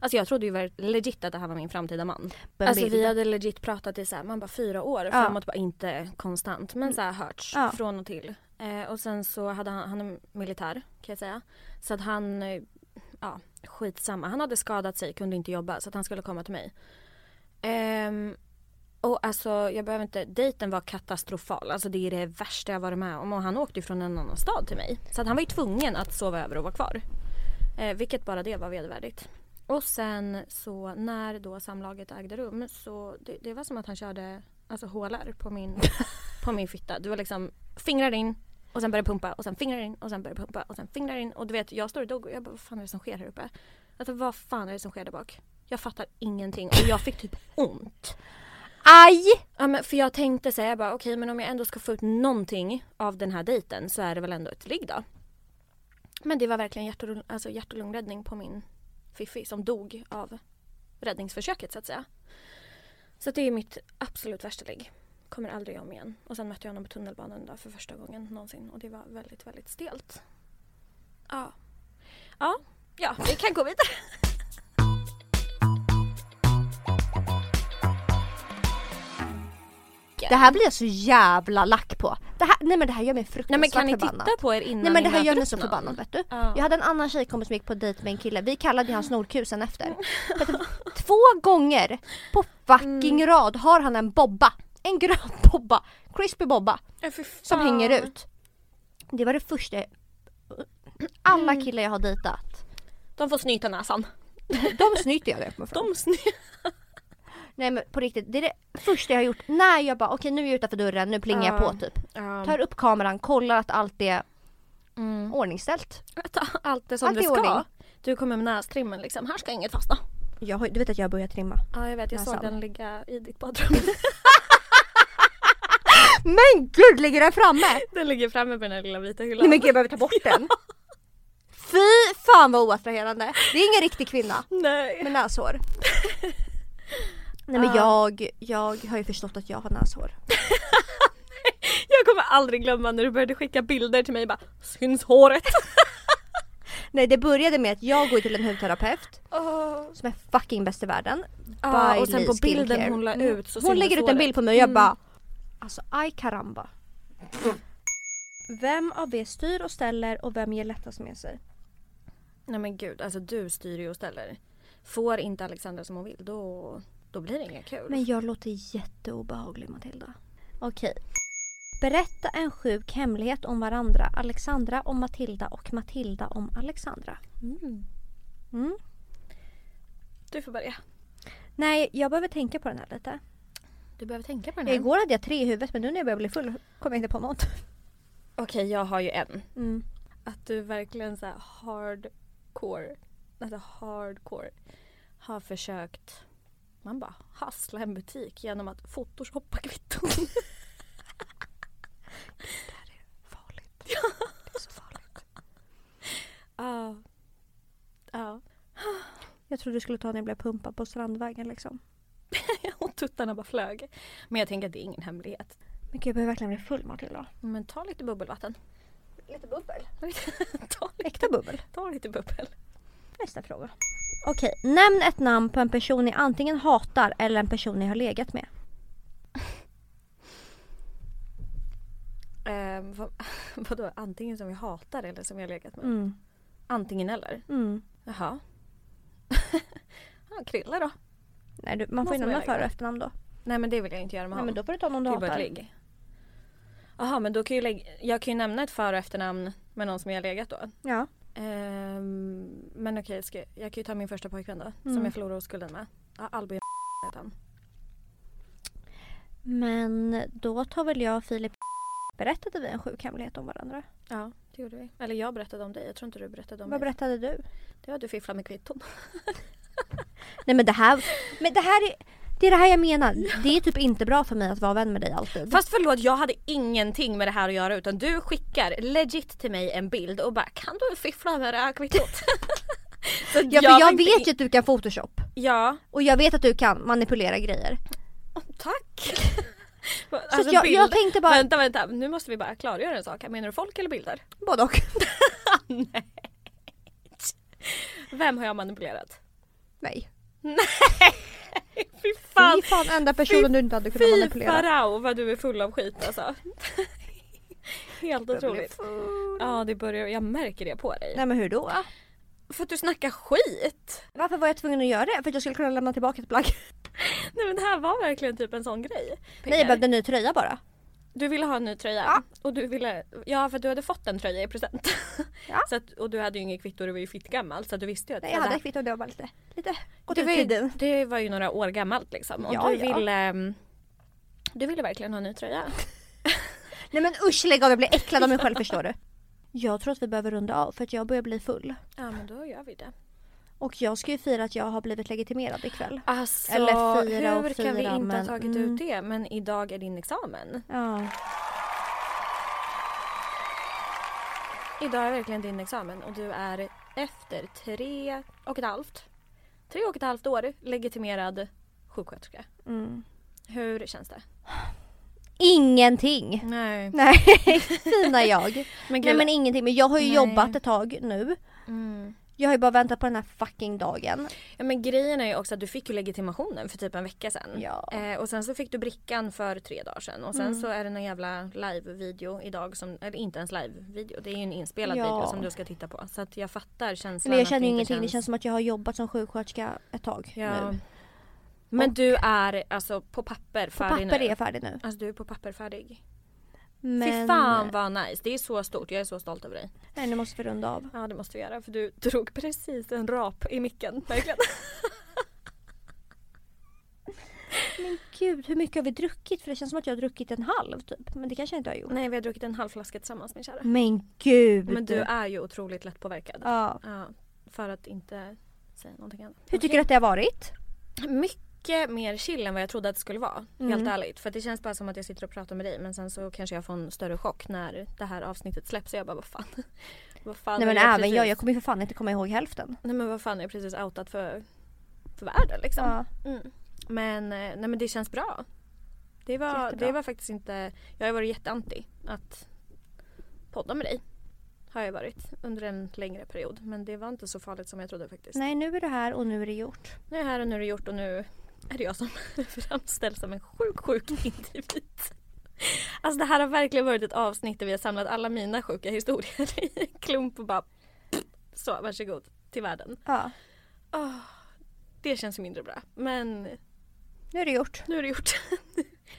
S2: Alltså jag trodde ju ver- legit att det här var min framtida man. Alltså vi hade legit pratat i så här, man bara fyra år
S1: Ja.
S2: framåt, bara inte konstant men så här hörts
S1: Ja.
S2: från och till. Eh, och sen så hade han, han är militär kan jag säga. Så att han, eh, ja skitsamma. Han hade skadat sig, kunde inte jobba så att han skulle komma till mig. Ehm, och alltså jag behöver inte, dejten var katastrofal. Alltså det är det värsta jag varit med om. Och han åkte ju från en annan stad till mig. Så att han var ju tvungen att sova över och vara kvar. Eh, vilket bara det var vedervärdigt. Och sen så när då samlaget ägde rum så det, det var som att han körde alltså hålar på min, på min fitta. Det var liksom fingrar in och sen börjar pumpa och sen fingrar in och sen börjar pumpa och sen fingrar in. Och du vet jag står och dog och jag bara vad fan är det som sker här uppe? Alltså vad fan är det som sker där bak? Jag fattar ingenting och jag fick typ ont.
S1: Aj!
S2: Ja, men för jag tänkte säga bara okej men om jag ändå ska få ut någonting av den här dejten så är det väl ändå ett ligg då. Men det var verkligen hjärt och, alltså hjärt och lungräddning på min fiffi som dog av räddningsförsöket så att säga. Så att det är mitt absolut värsta ligg. Kommer aldrig om igen. Och sen mötte jag honom på tunnelbanan då för första gången någonsin och det var väldigt, väldigt stelt. Ja. Ja, ja vi kan gå vidare.
S1: Det här blir jag så jävla lack på. Det här, nej men det här gör mig
S2: Nej
S1: fruktansvärt
S2: men kan ni
S1: förbannad.
S2: titta på er innan
S1: Nej men det
S2: ni
S1: här gör
S2: möter
S1: mig
S2: upp
S1: så
S2: någon?
S1: förbannad vet du.
S2: Ja.
S1: Jag hade en annan tjejkompis som gick på dejt med en kille. Vi kallade ju hans Nordkuk sen efter. Vet du, Två gånger på fucking rad har han en bobba. En grön bobba. Crispy bobba.
S2: Ja, fy
S1: Som
S2: fan.
S1: hänger ut. Det var det första jag- alla killar jag har dejtat.
S2: De får snyta näsan.
S1: De snyter jag det
S2: De sny-
S1: Nej men på riktigt, det är det första jag har gjort. När jag bara okej nu är jag utanför dörren, nu plingar jag
S2: Ja.
S1: på typ. Tar upp kameran, kollar att allt är
S2: Mm.
S1: ordningställt.
S2: Ta Allt det som
S1: Allt
S2: det
S1: i
S2: ska.
S1: ordning.
S2: Du kommer med nästrimmen liksom. Här ska inget fastna.
S1: Jag har, du vet att jag har börjat trimma.
S2: Ja jag vet, jag såg
S1: Näsan.
S2: den ligga i ditt badrum.
S1: Men gud ligger den framme?
S2: den ligger framme på den här lilla vita hyllan.
S1: Nej men gud jag behöver ta bort den. Fy fan vad oattraherande. Det är ingen riktig kvinna
S2: Nej.
S1: med näshår. Nej men
S2: Ja.
S1: jag, jag har ju förstått att jag har näshår.
S2: Jag kommer aldrig glömma när du började skicka bilder till mig bara Syns håret?
S1: Nej det började med att jag går till en hudterapeut som är fucking bäst i världen.
S2: Ja,
S1: By
S2: och sen
S1: Lee
S2: på bilden
S1: Skincare.
S2: hon la
S1: Mm.
S2: ut så
S1: Hon
S2: syntes
S1: lägger ut en
S2: håret.
S1: bild på mig och jag
S2: Mm.
S1: bara Alltså aj karamba. Vem av er styr och ställer och vem ger lättast med sig?
S2: Nej men gud, alltså du styr ju och ställer. Får inte Alexandra som hon vill då, då blir det inga kul.
S1: Men jag låter jätteobehaglig Matilda. Okej. Berätta en sjuk hemlighet om varandra. Alexandra om Matilda och Matilda om Alexandra.
S2: Mm.
S1: Mm.
S2: Du får börja.
S1: Nej, jag behöver tänka på den här lite.
S2: Du behöver tänka på
S1: Igår hade jag tre i huvudet men nu när jag börjar bli full kommer jag inte på något.
S2: Okej, jag har ju en.
S1: Mm.
S2: Att du verkligen så här hardcore, alltså hardcore har försökt man bara hassla en butik genom att photoshoppa kvitton.
S1: Farligt. Det är så farligt.
S2: Ja. Ja.
S1: Jag trodde du skulle ta när jag blev pumpad på Strandvägen liksom.
S2: Och tuttarna bara flög. Men jag tänker att det är ingen hemlighet.
S1: Men gud, jag behöver verkligen bli full Matilda.
S2: Men ta lite bubbelvatten.
S1: Lite bubbel.
S2: ta,
S1: Äkta bubbel.
S2: ta lite bubbel.
S1: Nästa fråga. Okej, nämn ett namn på en person ni antingen hatar eller en person ni har legat med.
S2: Eh, vad, vadå, antingen som jag hatar eller som jag legat med?
S1: Mm.
S2: Antingen eller.
S1: Mm.
S2: Jaha. ja, krilla då.
S1: Nej, du, man får
S2: Måste
S1: ju
S2: man
S1: nämna
S2: göra
S1: för och
S2: det?
S1: efternamn då.
S2: Nej men det vill jag inte göra
S1: Nej
S2: med
S1: men
S2: honom.
S1: då får du ta någon du
S2: det är bara ett
S1: hatar.
S2: ligg. Jaha men då kan jag ju lägga, jag kan ju nämna ett för och efternamn med någon som jag har legat då.
S1: Ja.
S2: Ehm, men okej, ska, jag kan ju ta min första pojkvän då.
S1: Mm.
S2: Som jag förlorade oskulden med. Ja, Albin heter han.
S1: Men då tar väl jag och Filip Berättade vi en sjuk hemlighet om varandra?
S2: Ja, det gjorde vi. Eller jag berättade om dig. Jag tror inte du berättade om
S1: Vad
S2: mig.
S1: berättade du?
S2: Det var att du fifflade med kvitton.
S1: Nej men det här, men det här är, det är det här jag menar. Det är typ inte bra för mig att vara vän med dig alltid.
S2: Fast förlåt, jag hade ingenting med det här att göra utan du skickar legit till mig en bild och bara kan du fiffla med det här kvittot? Så att
S1: ja, för jag,
S2: var inte
S1: vet
S2: in-
S1: ju att du kan photoshop.
S2: Ja,
S1: Och jag vet att du kan manipulera grejer.
S2: tack.
S1: Så
S2: alltså,
S1: att jag, jag
S2: bild-
S1: tänkte bara,
S2: Vänta, vänta, nu måste vi bara klargöra en sak. här. Menar du folk eller bilder?
S1: både och.
S2: Vem har jag manipulerat?
S1: Nej.
S2: Fy
S1: Fan.
S2: fan,
S1: Fy fan enda personen du inte hade kunnat
S2: fy
S1: manipulera.
S2: farao vad du är full av skit alltså. Helt
S1: Jag blev
S2: otroligt. Ja, det börjar, jag märker det på dig.
S1: Nej men hur då?
S2: För att du snackar skit.
S1: Varför var jag tvungen att göra det? För att jag skulle kunna lämna tillbaka ett plagg.
S2: Nej men det här var verkligen typ en sån grej.
S1: Nej jag behövde en ny tröja bara.
S2: Du ville ha en ny tröja.
S1: Ja.
S2: Och du ville, ja för att du hade fått en tröja i present.
S1: Ja.
S2: Så att, och du hade ju inget kvitto, du var ju fittgammal så att du visste ju att
S1: Nej jag hade ett
S2: det,
S1: kvitto och det var bara lite, lite gått
S2: det,
S1: ut
S2: var ju,
S1: tiden.
S2: det var ju några år gammalt liksom. Och
S1: Ja,
S2: du,
S1: ja.
S2: ville, ehm, du ville verkligen ha en ny tröja.
S1: Nej men usch lägg av jag blir äcklad av mig själv förstår du. Jag tror att vi behöver runda av för att jag börjar bli full.
S2: Ja men då gör vi det.
S1: Och jag ska ju fira att jag har blivit legitimerad ikväll.
S2: Alltså,
S1: Eller fira och
S2: hur kan vi
S1: fira,
S2: inte
S1: men-
S2: ha tagit
S1: mm.
S2: ut det? Men idag är din examen.
S1: Ja.
S2: Idag är verkligen din examen och du är efter tre och ett halvt, tre och ett halvt år legitimerad sjuksköterska.
S1: Mm.
S2: Hur känns det?
S1: Ingenting!
S2: Nej.
S1: Nej, fina jag. Nej
S2: Men gud.
S1: men ingenting. Men jag har ju
S2: Nej.
S1: jobbat ett tag nu.
S2: Mm.
S1: Jag har ju bara väntat på den här fucking dagen.
S2: Ja, men grejen är ju också att du fick ju legitimationen för typ en vecka sedan.
S1: Ja. Mm.
S2: Eh, och sen så fick du brickan för tre dagar sedan och sen så är det någon jävla live-video idag som, eller inte ens live-video, det är ju en inspelad
S1: Ja.
S2: video som du ska titta på. Så att jag fattar känslan.
S1: Men jag
S2: att
S1: känner ju
S2: inte
S1: ingenting. Det känns som att jag har jobbat som sjuksköterska ett tag
S2: Ja.
S1: nu.
S2: Men
S1: Och-
S2: du är alltså på papper
S1: På
S2: färdig
S1: papper är
S2: nu.
S1: jag färdig nu.
S2: Alltså du är på papper färdig.
S1: Men...
S2: Fy fan vad nice, det är så stort. Jag är så stolt över dig.
S1: Nej nu måste vi runda av.
S2: Ja det måste vi göra för du drog precis en rap i micken. Verkligen.
S1: Men gud hur mycket har vi druckit? För det känns som att jag har druckit en halv typ. Men det kanske jag inte har gjort.
S2: Nej vi har druckit en halv flaska tillsammans min kära.
S1: Men gud!
S2: Men du äh, är ju otroligt lättpåverkad.
S1: ja.
S2: Ja, för att inte säga någonting annat.
S1: Hur tycker du att det har varit?
S2: Mycket mer chill än vad jag trodde att det skulle vara.
S1: Mm.
S2: Helt ärligt. För att det känns bara som att jag sitter och pratar med dig men sen så kanske jag får en större chock när det här avsnittet släpps. Så jag bara vad fan. vad fan
S1: Nej men
S2: har
S1: även jag,
S2: precis-
S1: jag kommer ju för fan inte komma ihåg hälften.
S2: Nej men vad fan jag har precis outat för, för världen liksom.
S1: Ja.
S2: Mm. Men, eh, nej, men det känns bra. Det var,
S1: Jättebra.
S2: det var faktiskt inte... Jag har varit jätteanti att podda med dig. Har jag varit under en längre period. Men det var inte så farligt som jag trodde faktiskt.
S1: Nej nu är du här och nu är det gjort.
S2: Nu är jag här och nu är det gjort och nu är det jag som framställs som en sjuk, sjuk individ. Alltså det här har verkligen varit ett avsnitt där vi har samlat alla mina sjuka historier i en klump och bara... Så, varsågod. Till världen.
S1: Ja.
S2: Åh, det känns ju mindre bra. Men
S1: Nu är det gjort.
S2: nu är det gjort.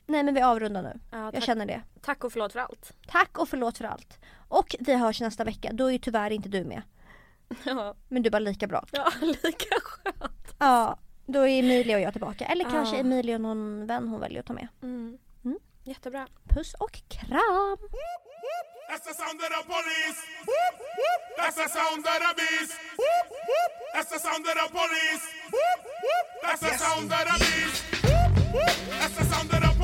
S1: Nej men vi avrundar nu.
S2: Ja,
S1: Jag
S2: tack,
S1: känner det.
S2: tack och förlåt för allt.
S1: Tack och förlåt för allt. Och vi hörs nästa vecka. Då är ju tyvärr inte du med.
S2: Ja,
S1: Men du är bara lika bra.
S2: ja lika skönt.
S1: Ja. Då är Emilia och jag tillbaka. Eller
S2: Ja.
S1: kanske Emilia och någon vän hon väljer att ta med. Mm.
S2: Jättebra.
S1: Puss och kram!
S3: That's the sound of the police. That's the sound of the beast. That's the sound of the police. That's the sound of the beast. That's the sound of the